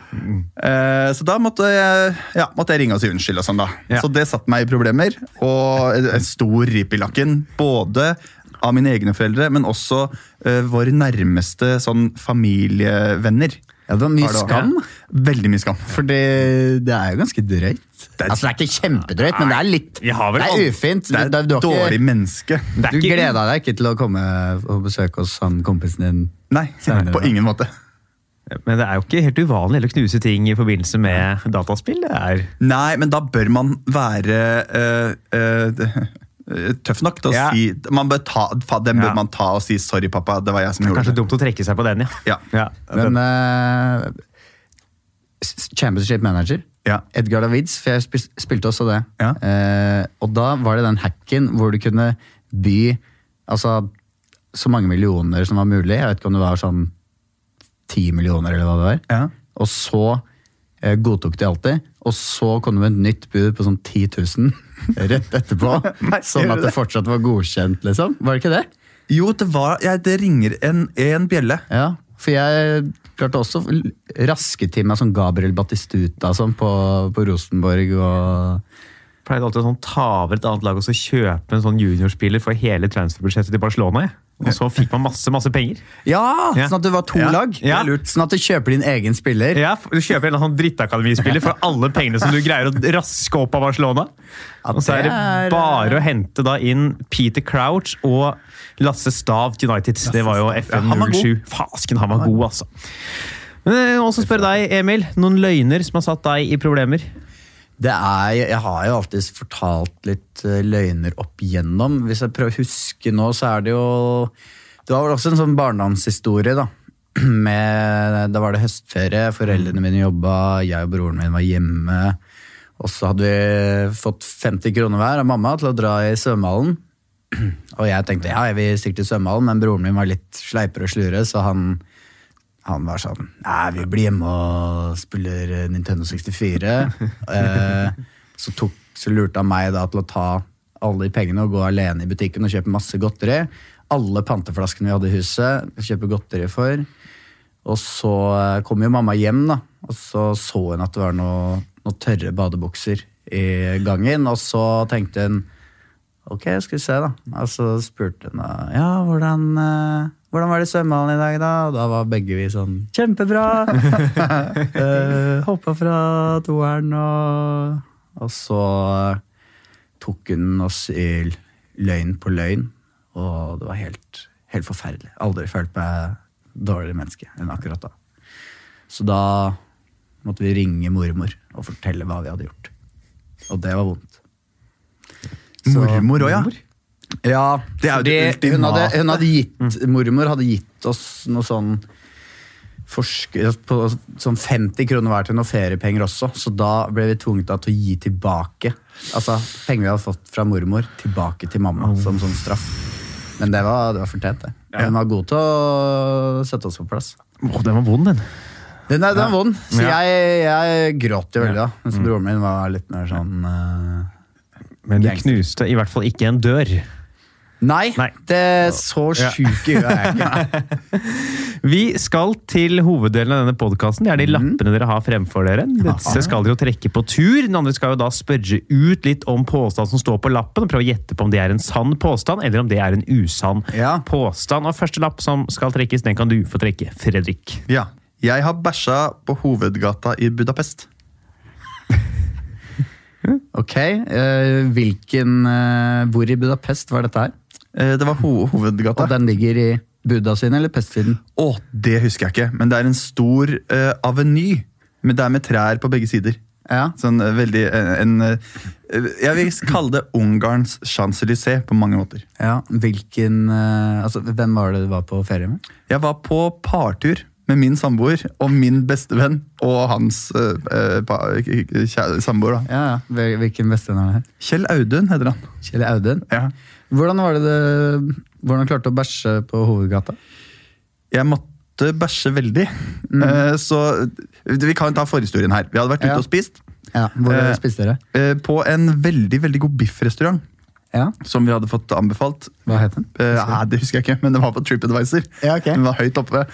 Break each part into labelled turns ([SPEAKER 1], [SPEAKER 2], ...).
[SPEAKER 1] Eh, så da måtte jeg, ja, måtte jeg ringe og si unnskyld. og sånn da.
[SPEAKER 2] Ja.
[SPEAKER 1] Så det satte meg i problemer, og en- en stor rip i lakken. Både av mine egne foreldre, men også eh, våre nærmeste sånn, familievenner.
[SPEAKER 3] Ja, det var mye
[SPEAKER 1] Har det-
[SPEAKER 3] skam.
[SPEAKER 1] Veldig mye skam.
[SPEAKER 3] For det, det er jo ganske drøyt. altså, det er ikke kjempedrøyt, men det er litt
[SPEAKER 2] Vi har vel
[SPEAKER 3] Det
[SPEAKER 2] aldri-
[SPEAKER 3] er ufint.
[SPEAKER 1] Det er
[SPEAKER 3] Du-
[SPEAKER 1] et
[SPEAKER 3] du har ikke-
[SPEAKER 1] dårlig menneske.
[SPEAKER 2] Det er
[SPEAKER 3] Du
[SPEAKER 2] ikke-
[SPEAKER 3] gleda deg ikke til å komme og besøke oss, han kompisen din.
[SPEAKER 1] Nei,
[SPEAKER 3] Senere,
[SPEAKER 1] på
[SPEAKER 3] da.
[SPEAKER 1] ingen måte.
[SPEAKER 2] Men det er jo ikke helt uvanlig heller å knuse ting i forbindelse med dataspill. Det er
[SPEAKER 1] Nei, men da bør man være eh, eh, tøff nok til å
[SPEAKER 2] Ja.
[SPEAKER 1] si man bør ta, fa- Den bør
[SPEAKER 2] Ja.
[SPEAKER 1] man ta og si 'sorry, pappa, det var jeg som gjorde
[SPEAKER 2] kanskje
[SPEAKER 1] det'.
[SPEAKER 2] dumt å trekke seg på den, ja.
[SPEAKER 1] Ja.
[SPEAKER 3] Men eh, s- Championship Manager,
[SPEAKER 1] Ja.
[SPEAKER 3] Edgar Davids, for jeg spil- spilte også det.
[SPEAKER 1] Ja.
[SPEAKER 3] Eh, og da var det den hacken hvor du kunne by altså, så mange millioner som var mulig. Jeg vet ikke om det var sånn ti millioner eller hva det var.
[SPEAKER 1] Ja.
[SPEAKER 3] Og så eh, godtok de alltid. Og så kom det med et nytt bud på sånn 10 000 rett etterpå.
[SPEAKER 1] Nei,
[SPEAKER 3] sånn
[SPEAKER 1] gjør
[SPEAKER 3] at
[SPEAKER 1] det?
[SPEAKER 3] det fortsatt var godkjent, liksom. Var det ikke det?
[SPEAKER 1] Jo, det, var, ja, det ringer en, en bjelle.
[SPEAKER 3] Ja, for jeg klarte også å raske til meg sånn Gabriel Batistuta sånn, på, på Rosenborg og
[SPEAKER 2] Jeg pleide alltid å sånn ta over et annet lag og så kjøpe en sånn juniorspiller for hele transferbudsjettet til Barcelona. jeg. Og så fikk man masse masse penger.
[SPEAKER 3] ja,
[SPEAKER 2] Ja.
[SPEAKER 3] Sånn at det var to
[SPEAKER 1] Ja,
[SPEAKER 3] lag!
[SPEAKER 2] det er
[SPEAKER 3] Sånn at du kjøper din egen spiller.
[SPEAKER 2] Ja, f- Du kjøper en eller annen sånn drittakademispiller for alle pengene som du greier å raske opp av Barcelona. Og så er det
[SPEAKER 3] det er-
[SPEAKER 2] bare å hente da inn Peter Crouch og Lasse Stav til United. Det var jo
[SPEAKER 1] Ja,
[SPEAKER 2] FM
[SPEAKER 1] han var god.
[SPEAKER 2] 07. Fasken, han var god, altså. Men eh, også spørre deg, Emil. Noen løgner som har satt deg i problemer?
[SPEAKER 3] Det er, jeg har jo alltid fortalt litt eh, løgner opp igjennom. Hvis jeg prøver å huske nå, så er det jo Det var vel også en sånn barndomshistorie, da. Med, da var det høstferie, foreldrene mine jobba, jeg og broren min var hjemme. Og så hadde vi fått 50 kroner hver av mamma til å dra i svømmehallen. Og jeg tenkte ja, jeg vil stikke til svømmehallen, men broren min var litt sleipere og slure, så han Han var sånn Nei, vi blir hjemme og spiller eh, Nintendo 64. Eh, så, tok, så lurte han meg da til å ta alle de pengene og gå alene i butikken og kjøpe masse godteri. Alle panteflaskene vi hadde i huset, kjøpe godteri for. Og så eh, kom jo mamma hjem, da, og så så hun at det var noe- noen tørre badebukser i gangen. Og så tenkte hun Ok, skal vi se da. Og så spurte hun da, ja, hvordan, eh, hvordan var det i svømmehallen i dag da? Og da var begge vi sånn, kjempebra! uh, hoppa fra toeren og... Og så tok hun oss i løgn på løgn, og det var helt, helt forferdelig. Aldri følt meg dårligere menneske enn akkurat da. Så da måtte vi ringe mormor og fortelle hva vi hadde gjort. Og det var vondt. Så-
[SPEAKER 1] Mormor òg, ja.
[SPEAKER 3] ja,
[SPEAKER 1] Det er jo det
[SPEAKER 3] fordi hun
[SPEAKER 1] ultimate.
[SPEAKER 3] hadde, hun hadde gitt, Mormor hadde gitt oss noe sånn forske, på, sånn 50 kroner hver til noen feriepenger også, så da ble vi tvunget da til å gi tilbake. Altså penger vi hadde fått fra mormor, tilbake til mamma som sånn straff. Men det var, det var fortjent, det. Hun var god til å sette oss på plass.
[SPEAKER 2] Åh, den var vond, den.
[SPEAKER 3] Den er, den er vond, så
[SPEAKER 2] Ja.
[SPEAKER 3] jeg, jeg gråt jo veldig da. Mens
[SPEAKER 1] Mm.
[SPEAKER 3] broren min var litt mer sånn eh,
[SPEAKER 2] Men du
[SPEAKER 3] Gangster.
[SPEAKER 2] knuste i hvert fall ikke en dør.
[SPEAKER 3] Nei,
[SPEAKER 2] Nei.
[SPEAKER 3] det er så
[SPEAKER 2] Ja.
[SPEAKER 3] sjuk i huet er jeg ikke.
[SPEAKER 2] Vi skal til hoveddelen av denne podkasten. Det er de lappene dere har fremfor dere. Disse skal dere jo trekke på tur. Den andre skal jo da spørre ut litt om påstanden som står på lappen, og prøve å gjette på om det er en sann påstand, eller om det er en usann
[SPEAKER 3] Ja.
[SPEAKER 2] påstand. Og første lapp som skal trekkes, den kan du få trekke, Fredrik.
[SPEAKER 1] ja. Jeg har bæsja på hovedgata i Budapest.
[SPEAKER 3] Ok, eh, hvilken, eh, hvor i Budapest var dette her?
[SPEAKER 1] Eh, Det var ho
[SPEAKER 3] Og
[SPEAKER 1] hovedgata. Å,
[SPEAKER 3] den ligger i Buda sin eller Pestsiden?
[SPEAKER 1] det husker jeg ikke, men det er en stor eh, aveny. Men det er med trær på begge sider.
[SPEAKER 3] Ja.
[SPEAKER 1] Sånn eh, veldig eh, en, eh, Jeg vil kalle det Ungarns Champs-Élysées på mange måter.
[SPEAKER 3] ja. Hvilken, eh, altså hvem var det du var på ferie med?
[SPEAKER 1] Jeg var på partur med min samboer og min bestevenn og hans eh, eh, pa- kjæ- samboer. da.
[SPEAKER 3] Ja, ja. Hvil- Hvilken bestevenn er det her?
[SPEAKER 1] Kjell Audun heter han.
[SPEAKER 3] Kjell Audun.
[SPEAKER 1] Ja.
[SPEAKER 3] Hvordan var det det, hvordan klarte du å bæsje på hovedgata?
[SPEAKER 1] Jeg måtte bæsje veldig. Eh, så vi kan ta forhistorien her. Vi hadde vært
[SPEAKER 3] Ja.
[SPEAKER 1] ute og spist
[SPEAKER 3] Ja, hvor
[SPEAKER 1] Eh,
[SPEAKER 3] spiste dere?
[SPEAKER 1] eh, på en veldig veldig god biffrestaurant
[SPEAKER 3] Ja,
[SPEAKER 1] som vi hadde fått anbefalt.
[SPEAKER 3] hva het den?
[SPEAKER 1] Eh, nei, det husker jeg ikke, men det var på TripAdvisor.
[SPEAKER 3] Ja, ok.
[SPEAKER 1] Den var høyt oppe.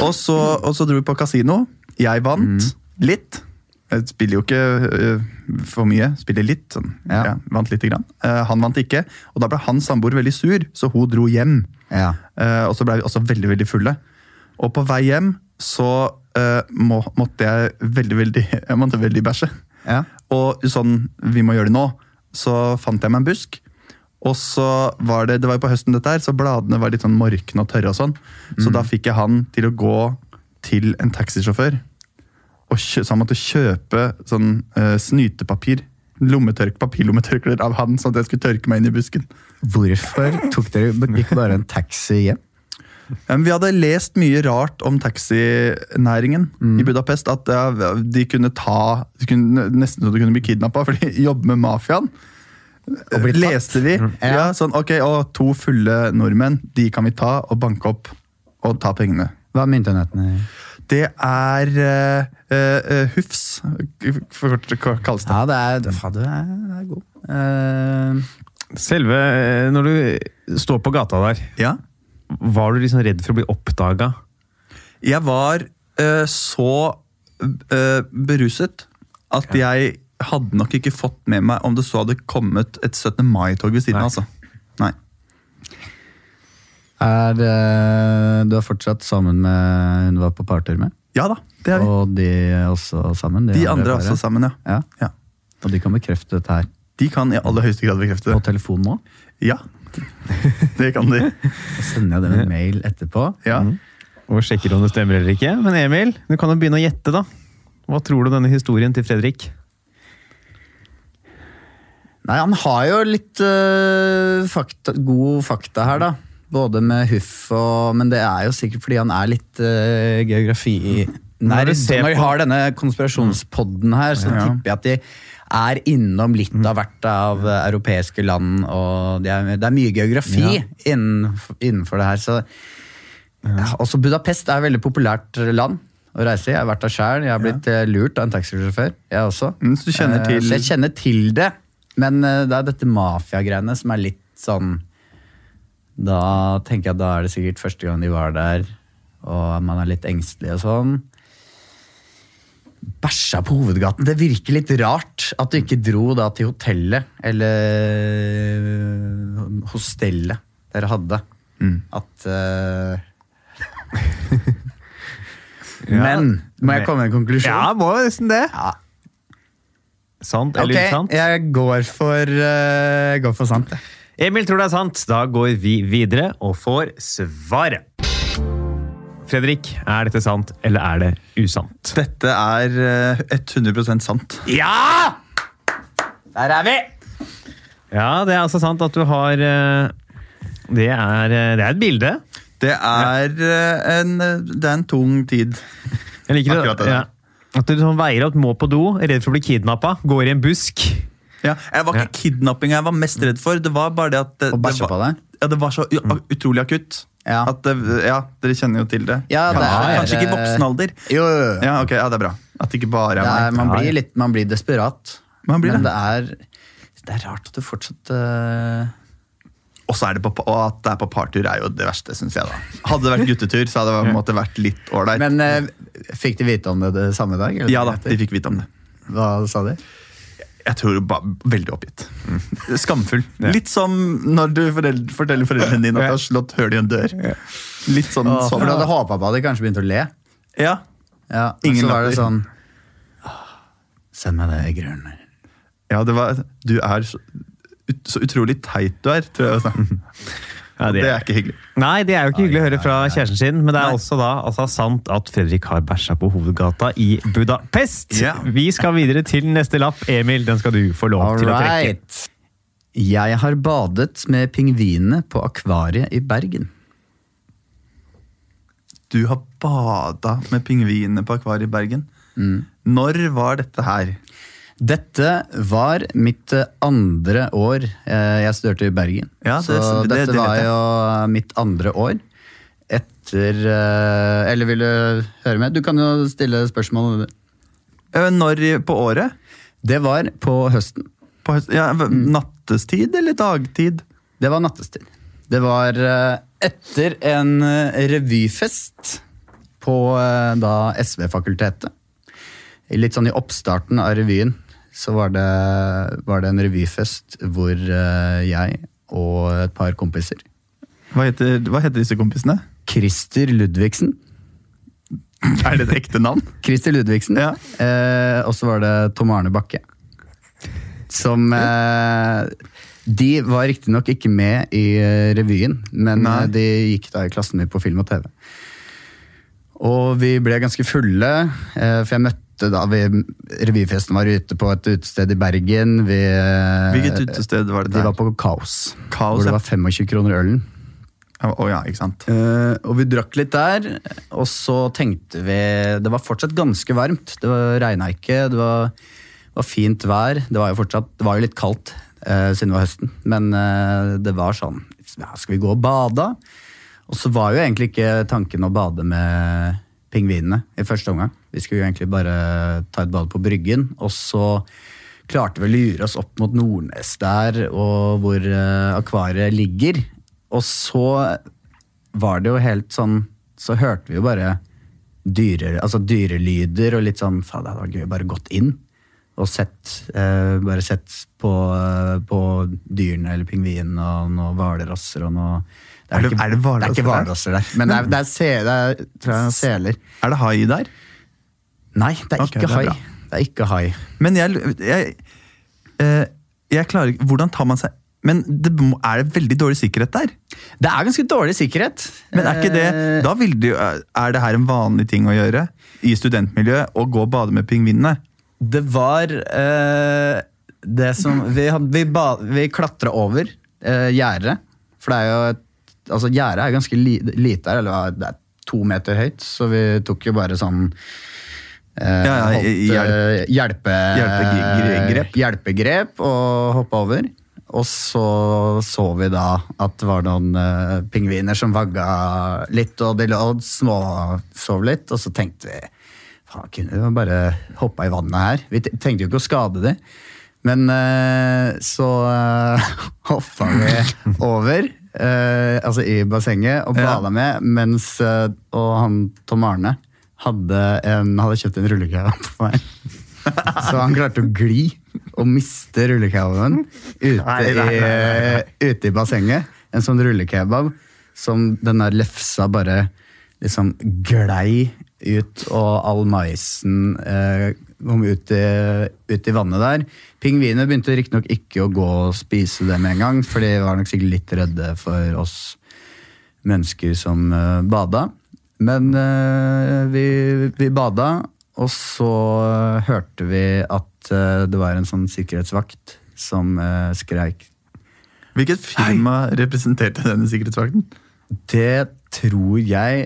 [SPEAKER 1] Og så, og så dro vi på kasino. Jeg vant
[SPEAKER 3] Mm.
[SPEAKER 1] litt. Jeg spiller jo ikke eh, for mye, spiller litt. Sånn.
[SPEAKER 3] Ja.
[SPEAKER 1] Ja. vant lite grann. Eh, han vant ikke, og da ble hans samboer veldig sur, så hun dro hjem.
[SPEAKER 3] Ja.
[SPEAKER 1] Eh, og så ble vi også veldig, veldig fulle. Og på vei hjem så eh, må, måtte jeg veldig, veldig, jeg måtte veldig bæsje.
[SPEAKER 3] Ja.
[SPEAKER 1] Og sånn, vi må gjøre det nå. Så fant jeg meg en busk. Og så var det, det var jo på høsten dette her, så bladene var litt sånn morkne og tørre og sånn. Så da fikk jeg han til å gå til en taxisjåfør. Og kjø, så han måtte kjøpe sånn eh, snytepapir. Lommetørk, papirlommetørklær av han, sånn at jeg skulle tørke meg inn i busken.
[SPEAKER 3] Hvorfor tok dere ikke bare en taxi hjem?
[SPEAKER 1] Ja, men Vi hadde lest mye rart om taxinæringen
[SPEAKER 3] Mm.
[SPEAKER 1] i Budapest. At eh, de kunne ta de kunne, Nesten så du kunne bli kidnappa, for de jobber med mafiaen.
[SPEAKER 3] Og bli tatt? Mm.
[SPEAKER 1] Leste vi. Ja.
[SPEAKER 3] Ja.
[SPEAKER 1] sånn, ok, og To fulle nordmenn, de kan vi ta og banke opp og ta pengene.
[SPEAKER 3] Hva er myntenhetene?
[SPEAKER 1] Det er eh, eh, Hufs, for kort hva kalles det.
[SPEAKER 3] Ja, det er, faen, du er, du er god. Eh,
[SPEAKER 2] Selve eh, Når du står på gata der,
[SPEAKER 1] Ja.
[SPEAKER 2] var du liksom redd for å bli oppdaga?
[SPEAKER 1] Jeg var eh, så eh, beruset at jeg hadde nok ikke fått med meg om det så hadde kommet et 17. mai-tog ved siden
[SPEAKER 2] Nei.
[SPEAKER 1] av. Altså. Nei.
[SPEAKER 3] Er eh, du er fortsatt sammen med hun du var på partur med?
[SPEAKER 1] Ja da, det er vi.
[SPEAKER 3] Og de er også sammen?
[SPEAKER 1] De andre er
[SPEAKER 3] paret?
[SPEAKER 1] også sammen, ja.
[SPEAKER 3] Ja,
[SPEAKER 1] ja.
[SPEAKER 3] Og de kan bekrefte dette her
[SPEAKER 1] De kan i aller høyeste grad bekrefte
[SPEAKER 3] på
[SPEAKER 1] det.
[SPEAKER 3] telefon nå.
[SPEAKER 1] Ja, det kan de.
[SPEAKER 3] Så sender jeg dem en mail etterpå.
[SPEAKER 1] Ja.
[SPEAKER 2] Og sjekker om det stemmer eller ikke. Men Emil, du kan jo begynne å gjette, da. Hva tror du om denne historien til Fredrik?
[SPEAKER 3] Nei, han har jo litt eh, fakta, god fakta her, da. Både med huff og Men det er jo sikkert fordi han er litt eh, geografi i
[SPEAKER 2] Når du
[SPEAKER 3] Nærmest.
[SPEAKER 2] ser
[SPEAKER 3] Når vi
[SPEAKER 2] på-
[SPEAKER 3] har denne konspirasjonspodden her, så
[SPEAKER 1] Ja. Mm.
[SPEAKER 3] tipper jeg at de er innom litt av hvert av eh, europeiske land, og det er, det er mye geografi
[SPEAKER 2] Ja.
[SPEAKER 3] innenfor, innenfor det her, så Ja, også Budapest er et veldig populært land å reise i. Jeg har vært der sjøl. Jeg har blitt eh, lurt av en taxisjåfør, jeg også.
[SPEAKER 1] Mm, så du kjenner
[SPEAKER 3] Eh,
[SPEAKER 1] til-
[SPEAKER 3] Så jeg kjenner til det. Men eh, det er dette mafiagreiene som er litt sånn Da tenker jeg at da er det sikkert første gang de var der, og man er litt engstelig og sånn. Bæsja på hovedgaten. Det virker litt rart at du ikke dro da til hotellet, eller hostellet dere hadde. At eh, Men må jeg komme med en konklusjon?
[SPEAKER 2] Ja, må jo nesten det.
[SPEAKER 3] Ja.
[SPEAKER 2] Sant
[SPEAKER 3] Ok,
[SPEAKER 2] eller usant?
[SPEAKER 3] jeg går for, eh, jeg går for sant. jeg.
[SPEAKER 2] Emil tror det er sant. Da går vi videre og får svaret. Fredrik, er dette sant eller er det usant?
[SPEAKER 1] Dette er eh, 100 sant.
[SPEAKER 2] Ja!
[SPEAKER 3] Der er vi!
[SPEAKER 2] Ja, det er altså sant at du har eh, Det er, eh, det er et bilde.
[SPEAKER 1] Det er, eh, en, eh, det er en tung tid.
[SPEAKER 2] Jeg liker
[SPEAKER 1] Akkurat det der.
[SPEAKER 2] Ja. At du sånn veier opp, må på do, er redd for å bli kidnappa, går i en busk.
[SPEAKER 1] Ja, jeg var ikke kidnapping jeg var mest redd for. Det var bare det at det,
[SPEAKER 3] Å bæsje
[SPEAKER 1] det, var,
[SPEAKER 3] på deg?
[SPEAKER 1] Ja, det var så u- utrolig akutt.
[SPEAKER 3] Mm. Ja.
[SPEAKER 1] At det, ja, dere kjenner jo til det.
[SPEAKER 3] Ja, det
[SPEAKER 1] kanskje,
[SPEAKER 3] er-
[SPEAKER 1] kanskje ikke i voksen alder.
[SPEAKER 3] Jo, jo, jo.
[SPEAKER 1] Ja, ok, ja, det er bra. At det ikke bare
[SPEAKER 3] Det
[SPEAKER 1] er
[SPEAKER 3] er,
[SPEAKER 1] meg.
[SPEAKER 3] man,
[SPEAKER 2] Ja, ja.
[SPEAKER 3] blir litt, man blir desperat.
[SPEAKER 1] Man blir
[SPEAKER 3] men
[SPEAKER 1] det.
[SPEAKER 3] det er Det er rart at du fortsatt eh,
[SPEAKER 1] Og så er det på, og at det er på partur er jo det verste, syns jeg. da. Hadde det vært guttetur, så hadde det på en måte vært litt ålreit.
[SPEAKER 3] Men eh, fikk de vite om det, det samme dag? eller?
[SPEAKER 1] Ja da, de fikk vite om det.
[SPEAKER 3] Hva sa de?
[SPEAKER 1] Jeg tror ba, Veldig oppgitt.
[SPEAKER 3] Mm.
[SPEAKER 1] Skamfull. Litt som når du forel- forteller foreldrene dine at du har slått hull i en dør. Litt sånn
[SPEAKER 3] For
[SPEAKER 1] sånn.
[SPEAKER 3] du hadde håpa på at de kanskje begynte å le.
[SPEAKER 1] Ja.
[SPEAKER 3] Ja, men
[SPEAKER 1] Ingen
[SPEAKER 3] så var det
[SPEAKER 1] latter.
[SPEAKER 3] sånn «Åh, Send meg det grønne.
[SPEAKER 1] ja, det var Du er så, ut, så utrolig teit du er, tror jeg. jeg sa.
[SPEAKER 2] Ja,
[SPEAKER 1] Det er ikke hyggelig.
[SPEAKER 2] Nei, det er jo ikke hyggelig å høre fra kjæresten sin, men det er også da altså, sant at Fredrik har bæsja på hovedgata i Budapest.
[SPEAKER 1] Ja.
[SPEAKER 2] Vi skal videre til neste lapp. Emil, den skal du få lov
[SPEAKER 3] All
[SPEAKER 2] til å trekke.
[SPEAKER 3] right. Jeg har badet med pingvinene på akvariet i Bergen.
[SPEAKER 1] Du har bada med pingvinene på akvariet i Bergen.
[SPEAKER 3] Mm.
[SPEAKER 1] Når var dette her?
[SPEAKER 3] Dette var mitt eh, andre år eh, jeg studerte i Bergen.
[SPEAKER 1] Ja, det-
[SPEAKER 3] så
[SPEAKER 1] det-
[SPEAKER 3] dette
[SPEAKER 1] det vet
[SPEAKER 3] var
[SPEAKER 1] jeg.
[SPEAKER 3] jo eh, mitt andre år. Etter eh, Eller vil du høre mer? Du kan jo stille spørsmål.
[SPEAKER 1] Eh, Når i- på året?
[SPEAKER 3] Det var på høsten.
[SPEAKER 1] På høst, ja, v-
[SPEAKER 3] Mm.
[SPEAKER 1] Nattestid eller dagtid?
[SPEAKER 3] Det var nattestid. Det var eh, etter en eh, revyfest på eh, da SV-fakultetet. Litt sånn i oppstarten av revyen så var det, var det en revyfest hvor eh, jeg og et par kompiser
[SPEAKER 1] Hva heter, hva heter disse kompisene?
[SPEAKER 3] Christer Ludvigsen.
[SPEAKER 1] Er det et ekte navn?
[SPEAKER 3] Christer Ludvigsen.
[SPEAKER 1] Ja.
[SPEAKER 3] Eh, og så var det Tom Arne Bakke. Som eh, De var riktignok ikke med i eh, revyen, men
[SPEAKER 1] Nei.
[SPEAKER 3] eh, de gikk da i klassen min på film og TV. Og vi ble ganske fulle, eh, for jeg møtte da vi, Revyfesten var ute på et utested i Bergen. Vi, eh,
[SPEAKER 1] Hvilket utested var det
[SPEAKER 3] De
[SPEAKER 1] der?
[SPEAKER 3] var på Kaos,
[SPEAKER 1] Kaos,
[SPEAKER 3] hvor
[SPEAKER 1] ja.
[SPEAKER 3] det var 25 kroner ølen.
[SPEAKER 1] Å ja, ikke sant.
[SPEAKER 3] Eh, og vi drakk litt der, og så tenkte vi Det var fortsatt ganske varmt. Det var- regna ikke, det var, var fint vær. Det var jo fortsatt Det var jo litt kaldt eh, siden det var høsten, men eh, det var sånn ja, Skal vi gå og bade? da? Og så var jo egentlig ikke tanken å bade med pingvinene i første omgang. Vi skulle jo egentlig bare ta et bad på Bryggen, og så klarte vi å lure oss opp mot Nordnes der, og hvor eh, akvariet ligger. Og så var det jo helt sånn Så hørte vi jo bare dyre, altså dyrelyder og litt sånn Faen, det hadde vært gøy å bare gått inn og sett, eh, bare sett på, eh, på dyrene eller pingvinen og noen hvalrosser og noe
[SPEAKER 1] Er
[SPEAKER 3] det
[SPEAKER 1] det- er det
[SPEAKER 3] er ikke
[SPEAKER 1] hvalrosser
[SPEAKER 3] hvalrosser der, men det er, det er, se, det er tror jeg, seler.
[SPEAKER 1] Er det hai der?
[SPEAKER 3] Nei, det er
[SPEAKER 1] Ok, det
[SPEAKER 3] ikke
[SPEAKER 1] er
[SPEAKER 3] hai.
[SPEAKER 1] bra.
[SPEAKER 3] Det er ikke hai.
[SPEAKER 1] Men jeg, jeg, eh, jeg klarer ikke Hvordan tar man seg Men det, må- er det veldig dårlig sikkerhet der?
[SPEAKER 3] Det er ganske dårlig sikkerhet. Eh,
[SPEAKER 1] Men er ikke det Da vil det jo Er det her en vanlig ting å gjøre? I studentmiljøet? Å gå og bade med pingvinene?
[SPEAKER 3] Det var eh, det som Vi, hadde- vi, ba- vi klatra over uh, gjerdet. For det er jo et Altså, gjerdet er ganske li, lite her, eller det er to meter høyt, så vi tok jo bare sånn eh,
[SPEAKER 1] Ja, ja,
[SPEAKER 3] holdt, eh, hjelpe,
[SPEAKER 1] hjelpegre- grep.
[SPEAKER 3] hjelpegrep og hoppa over. Og så så vi da at det var noen eh, pingviner som vagga litt, og de lå og småsov litt. Og så tenkte vi faen, kunne vi bare hoppa i vannet her? Vi te- tenkte jo ikke å skade de. Men eh, så uh, hoppa vi over, eh, altså i bassenget, og
[SPEAKER 1] Ja.
[SPEAKER 3] bada med, mens eh, Og han Tom Arne hadde, en, hadde kjøpt en rullekaia på meg. Så han klarte å gli og miste rullekebabene ute,
[SPEAKER 2] Nei, nei, nei,
[SPEAKER 3] i- ute i bassenget. En sånn rullekebab som den der lefsa bare liksom glei ut, og all maisen eh, kom ut i, ut i vannet der. Pingviner begynte riktignok ikke å gå og spise det med en gang, for de var nok sikkert litt redde for oss mennesker som eh, bada. Men eh, vi, vi bada, og så eh, hørte vi at eh, det var en sånn sikkerhetsvakt som eh, skreik.
[SPEAKER 1] Hvilket firma representerte denne sikkerhetsvakten?
[SPEAKER 3] Det tror jeg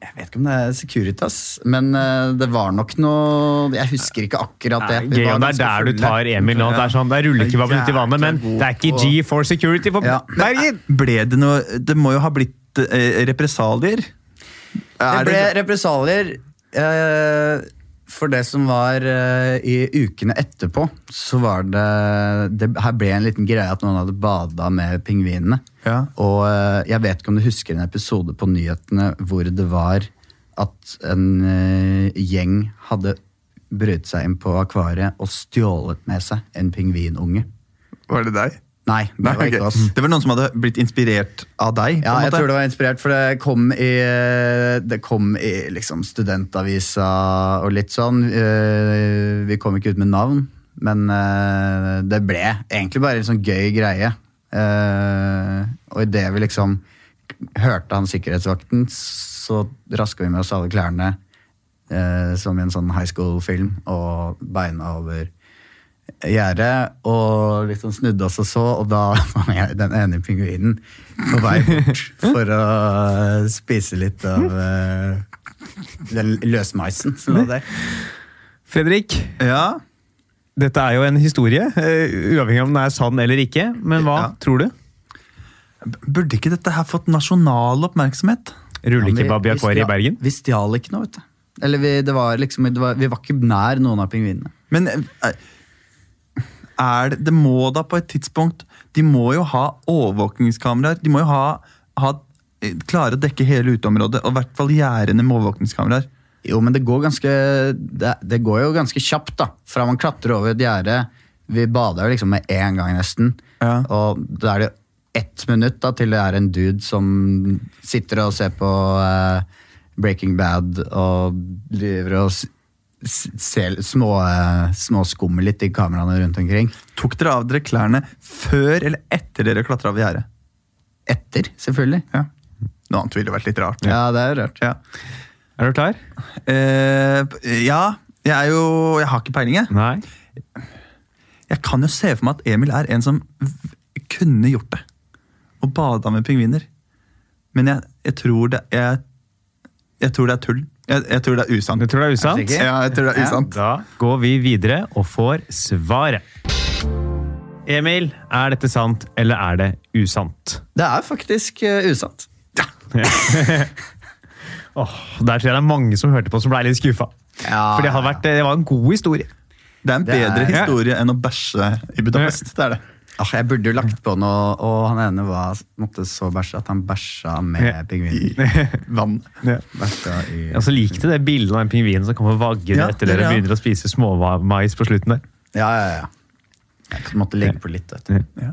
[SPEAKER 3] Jeg vet ikke om det er Securitas, men eh, det var nok noe Jeg husker ikke akkurat det. Vi
[SPEAKER 2] Gøy,
[SPEAKER 3] var
[SPEAKER 2] og det er
[SPEAKER 3] ganske
[SPEAKER 2] der du
[SPEAKER 3] fulle.
[SPEAKER 2] tar Emil nå. Det er sånn, det er rullekebaben ute i vannet, men
[SPEAKER 1] Jækla god
[SPEAKER 2] det er ikke
[SPEAKER 1] på-
[SPEAKER 2] G for security på
[SPEAKER 3] Ja.
[SPEAKER 2] Bergen!
[SPEAKER 1] Ble det noe Det må jo ha blitt eh, represalier?
[SPEAKER 3] Det
[SPEAKER 1] Er
[SPEAKER 3] ble
[SPEAKER 1] det-
[SPEAKER 3] represalier eh, for det som var eh, i ukene etterpå. Så var det, det Her ble en liten greie at noen hadde bada med pingvinene.
[SPEAKER 1] Ja.
[SPEAKER 3] Og eh, jeg vet ikke om du husker en episode på nyhetene hvor det var at en eh, gjeng hadde brøyt seg inn på akvariet og stjålet med seg en pingvinunge.
[SPEAKER 1] Var det deg?
[SPEAKER 3] Nei, det var
[SPEAKER 1] ok.
[SPEAKER 3] ikke oss.
[SPEAKER 1] det var noen som hadde blitt inspirert av deg?
[SPEAKER 3] Ja, jeg tror det var inspirert, for det kom i, det kom i liksom studentavisa og litt sånn. Eh, Vi kom ikke ut med navn, men eh, det ble egentlig bare en sånn gøy greie. Eh, Og idet vi liksom hørte han sikkerhetsvakten, så raska vi med oss alle klærne eh, som i en sånn high school-film, og beina over gjerdet og liksom snudde oss og så, og da var jeg den ene pingvinen på vei bort for å spise litt av eh, den løsmaisen som lå der.
[SPEAKER 2] Fredrik,
[SPEAKER 1] Ja,
[SPEAKER 2] dette er jo en historie, eh, uavhengig av om den er sann eller ikke. Men hva
[SPEAKER 1] Ja.
[SPEAKER 2] tror du?
[SPEAKER 1] Burde ikke dette her fått nasjonal oppmerksomhet?
[SPEAKER 2] Rullekebab i
[SPEAKER 3] Ja, men vi-
[SPEAKER 2] akvariet i
[SPEAKER 3] vi stjal-
[SPEAKER 2] Bergen?
[SPEAKER 3] Vi stjal ikke noe, vet du. Eller vi, det var liksom, det var, vi var ikke nær noen av pingvinene.
[SPEAKER 1] Men eh, er det, det må da på et tidspunkt De må jo ha overvåkningskameraer. De må jo ha, ha eh, klare å dekke hele uteområdet, og i hvert fall gjerdene med overvåkningskameraer.
[SPEAKER 3] Jo, men det går, ganske, det, det går jo ganske kjapt, da. Fra man klatrer over et gjerde Vi bader jo liksom med én gang, nesten.
[SPEAKER 1] Ja.
[SPEAKER 3] Og da er det jo ett minutt da, til det er en dude som sitter og ser på eh, Breaking Bad og driver og s- s- ser små, eh, småskummer litt i kameraene rundt omkring.
[SPEAKER 1] Tok dere av dere klærne før eller etter dere klatra over gjerdet?
[SPEAKER 3] Etter, selvfølgelig.
[SPEAKER 1] Ja. Noe annet ville vært litt rart.
[SPEAKER 3] Ja, det er jo rart.
[SPEAKER 1] Ja.
[SPEAKER 2] Er du klar?
[SPEAKER 1] Eh, ja, jeg er jo Jeg har ikke peiling, jeg.
[SPEAKER 2] Nei.
[SPEAKER 1] Jeg kan jo se for meg at Emil er en som v- kunne gjort det. Og bada med pingviner. Men jeg, jeg tror det jeg, jeg tror det er tull. Jeg, jeg tror det er usant.
[SPEAKER 2] Du tror det er
[SPEAKER 3] Er du
[SPEAKER 2] usant?
[SPEAKER 3] sikker?
[SPEAKER 1] Ja, jeg tror det er
[SPEAKER 3] Ja.
[SPEAKER 1] usant.
[SPEAKER 2] Da går vi videre og får svaret. Emil, er dette sant, eller er det usant?
[SPEAKER 3] Det er faktisk eh, usant.
[SPEAKER 2] Åh, der tror jeg det er mange som hørte på som ble litt skuffa.
[SPEAKER 3] Ja,
[SPEAKER 2] For det, har
[SPEAKER 3] ja,
[SPEAKER 2] vært, det var en god historie.
[SPEAKER 1] Det er en
[SPEAKER 3] Det er-
[SPEAKER 1] bedre historie enn å bæsje i Budapest. Det er det.
[SPEAKER 3] Ah, jeg burde jo lagt på noe, og han ene var, måtte så bæsje at han bæsja med
[SPEAKER 2] Ja.
[SPEAKER 3] pingvinen.
[SPEAKER 1] Vann.
[SPEAKER 3] Bæsja i
[SPEAKER 2] Jeg også likte det bildet av den pingvinen som kommer vaggende
[SPEAKER 1] Ja,
[SPEAKER 2] etter dere
[SPEAKER 1] ja.
[SPEAKER 2] begynner å spise småmais på slutten der.
[SPEAKER 3] Ja, ja, ja. Jeg måtte legge på litt, vet du.
[SPEAKER 1] Ja.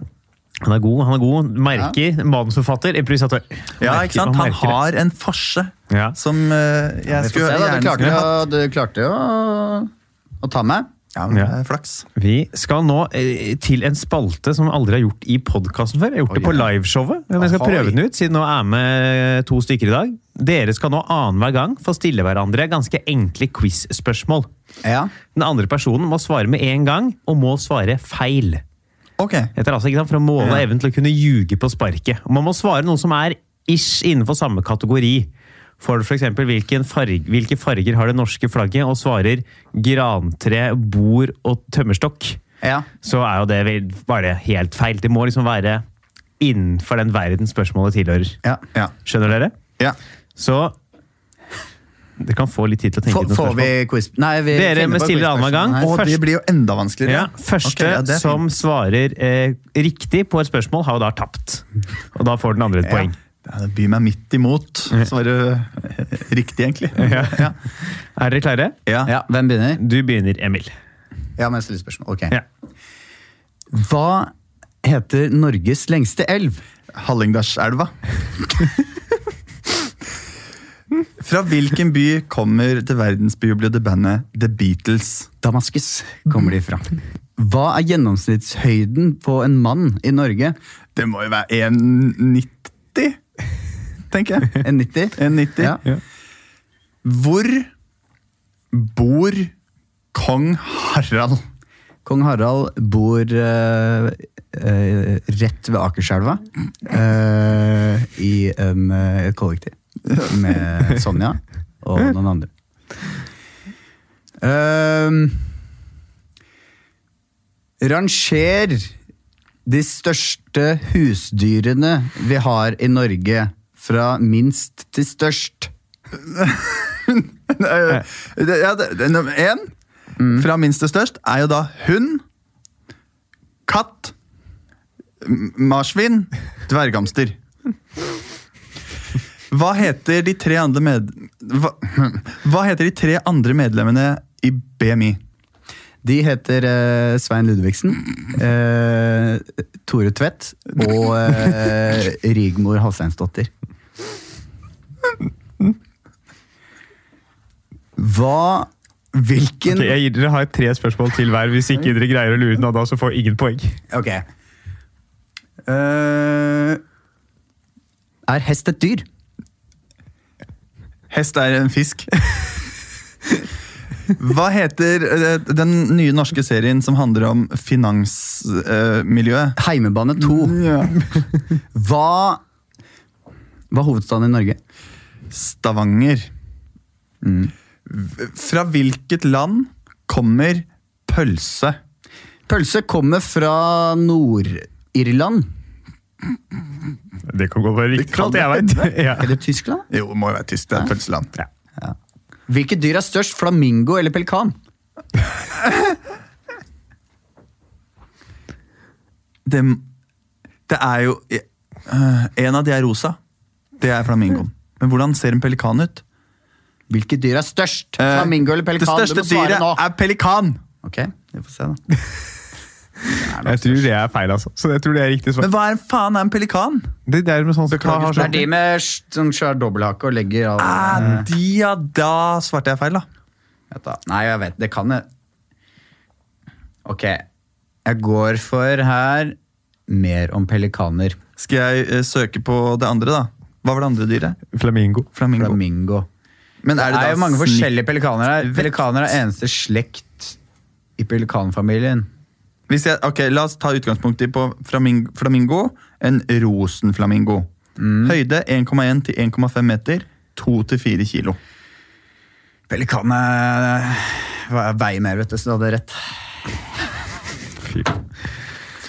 [SPEAKER 2] Han er god, han er god. Merker. Manusforfatter, improvisatør.
[SPEAKER 1] Ja,
[SPEAKER 2] Merker,
[SPEAKER 1] ikke sant? Han
[SPEAKER 2] merker det.
[SPEAKER 1] har en forse
[SPEAKER 2] Ja.
[SPEAKER 1] som eh, jeg
[SPEAKER 3] Vi får
[SPEAKER 1] skulle
[SPEAKER 3] se, da. Du
[SPEAKER 1] gjerne
[SPEAKER 3] klarte
[SPEAKER 1] skulle
[SPEAKER 3] jo,
[SPEAKER 1] hatt.
[SPEAKER 3] du klarte jo å, å ta meg.
[SPEAKER 1] Ja, men det
[SPEAKER 2] Ja.
[SPEAKER 1] er flaks.
[SPEAKER 2] Vi skal nå eh, til en spalte som vi aldri har gjort i podkasten før. Jeg har gjort det på
[SPEAKER 3] ja.
[SPEAKER 2] liveshowet. Men jeg skal
[SPEAKER 3] Ahoy.
[SPEAKER 2] prøve den ut, siden nå er med eh, to stykker i dag. Dere skal nå annenhver gang få stille hverandre ganske enkle quiz-spørsmål.
[SPEAKER 3] Ja.
[SPEAKER 2] Den andre personen må svare med en gang, og må svare feil.
[SPEAKER 1] Ok.
[SPEAKER 2] Dette er altså ikke sant, For å måle
[SPEAKER 1] Ja.
[SPEAKER 2] evnen til å kunne ljuge på sparket. Og man må svare noe som er ish innenfor samme kategori. For f.eks. Farg, hvilke farger har det norske flagget? Og svarer grantre, bord og tømmerstokk.
[SPEAKER 3] Ja.
[SPEAKER 2] så er jo det vel bare helt feil. Det må liksom være innenfor den verden spørsmålet tilhører.
[SPEAKER 3] ja.
[SPEAKER 1] Ja.
[SPEAKER 2] Skjønner dere?
[SPEAKER 1] ja.
[SPEAKER 2] Så Det kan få litt tid til å tenke
[SPEAKER 3] Får,
[SPEAKER 2] ut noen
[SPEAKER 3] får vi
[SPEAKER 2] spørsmål.
[SPEAKER 3] quiz... Nei, vi
[SPEAKER 2] Dere
[SPEAKER 3] finner på
[SPEAKER 2] bestiller annenhver gang.
[SPEAKER 3] quizspørsmål her.
[SPEAKER 1] Og
[SPEAKER 2] Først-
[SPEAKER 1] det blir jo enda vanskeligere.
[SPEAKER 2] Ja, første
[SPEAKER 1] Ok, ja, det er
[SPEAKER 2] som svarer eh, riktig på et spørsmål, har jo da tapt. Og da får den andre et
[SPEAKER 1] Ja.
[SPEAKER 2] poeng.
[SPEAKER 1] Ja, det byr meg midt imot. Så var det eh, riktig, egentlig.
[SPEAKER 2] Ja. Er dere klare?
[SPEAKER 1] Ja.
[SPEAKER 3] Ja, Hvem begynner?
[SPEAKER 2] Du begynner, Emil.
[SPEAKER 3] Ja, men jeg stiller spørsmål. Ok.
[SPEAKER 2] Ja.
[SPEAKER 3] Hva heter Norges lengste elv?
[SPEAKER 1] Hallingdalselva. Fra hvilken by kommer det verdensbejublede bandet The Beatles?
[SPEAKER 3] Damaskus kommer de fra. Hva er gjennomsnittshøyden på en mann i Norge?
[SPEAKER 1] Det må jo være 1,90, tenker jeg.
[SPEAKER 3] En 90?
[SPEAKER 1] 1,90.
[SPEAKER 3] Ja.
[SPEAKER 1] Hvor bor kong Harald?
[SPEAKER 3] Kong Harald bor eh, eh, rett ved Akerselva. eh, I en, eh, et kollektiv. Med Sonja og noen andre. Ehm, ranger de største husdyrene vi har i Norge fra minst til størst.
[SPEAKER 1] Eh, det- ja, det- det- nummer Én, fra minst til størst, er jo da hund, katt, m- marsvin, dverghamster. Hva heter de tre andre med... Hva, hva heter de tre andre medlemmene i BMI?
[SPEAKER 3] De heter eh, Svein Ludvigsen, eh, Tore Tvedt og eh, Rigmor Halsteinsdottir. Hva Hvilken
[SPEAKER 2] Ok, jeg gir dere har tre spørsmål til hver. Hvis ikke dere greier å lure den av da, så får ingen poeng.
[SPEAKER 3] Ok. Eh, er hest et dyr?
[SPEAKER 1] Hest er en fisk. Hva heter eh, den nye norske serien som handler om finansmiljøet?
[SPEAKER 3] Heimebane 2. Hva var hovedstaden i Norge?
[SPEAKER 1] Stavanger. V- Fra hvilket land kommer pølse?
[SPEAKER 3] Pølse kommer fra Nord-Irland.
[SPEAKER 2] Det kan godt være riktig.
[SPEAKER 1] Det kan
[SPEAKER 2] alt jeg vet. Ja.
[SPEAKER 3] Eller Tyskland?
[SPEAKER 1] Jo, det må jo være tysk. Det er et pølseland.
[SPEAKER 2] Ja.
[SPEAKER 3] Hvilket dyr er størst, flamingo eller pelikan?
[SPEAKER 1] Det, det er jo eh, En av de er rosa. Det er flamingoen. Men hvordan ser en pelikan ut?
[SPEAKER 3] Hvilket dyr er størst?
[SPEAKER 1] Eh,
[SPEAKER 3] Flamingo eller pelikan? Du
[SPEAKER 1] Det største
[SPEAKER 3] må svare
[SPEAKER 1] dyret
[SPEAKER 3] nå.
[SPEAKER 1] er pelikan!
[SPEAKER 3] Ok, vi får se da.
[SPEAKER 2] Jeg tror det er feil, altså. Så jeg tror det er riktig svar.
[SPEAKER 1] Men hva er faen er en pelikan?
[SPEAKER 2] Det der med sånn som Hva har
[SPEAKER 3] Det er
[SPEAKER 2] sånn
[SPEAKER 3] de med s- som skjærer dobbelthake og legger all
[SPEAKER 1] Ah,
[SPEAKER 3] Mm.
[SPEAKER 1] de, ja, da svarte jeg feil, da.
[SPEAKER 3] Vet da. Nei, jeg vet, det kan jeg. Ok, jeg går for her mer om pelikaner.
[SPEAKER 1] Skal jeg eh, søke på det andre, da? Hva var det andre dyret?
[SPEAKER 2] Flamingo.
[SPEAKER 1] Flamingo.
[SPEAKER 3] Flamingo.
[SPEAKER 1] Men
[SPEAKER 3] Det er,
[SPEAKER 1] da
[SPEAKER 3] jo mange
[SPEAKER 1] snitt-
[SPEAKER 3] forskjellige pelikaner her. Pelikaner er eneste slekt i pelikanfamilien.
[SPEAKER 1] Hvis jeg, ok, La oss ta utgangspunkt i på flamingo, flamingo en rosenflamingo.
[SPEAKER 3] Mm.
[SPEAKER 1] Høyde 1,1 til 1,5 meter. 2-4 kilo.
[SPEAKER 3] Pelikaner veier eh, mer, vet du, så du hadde rett.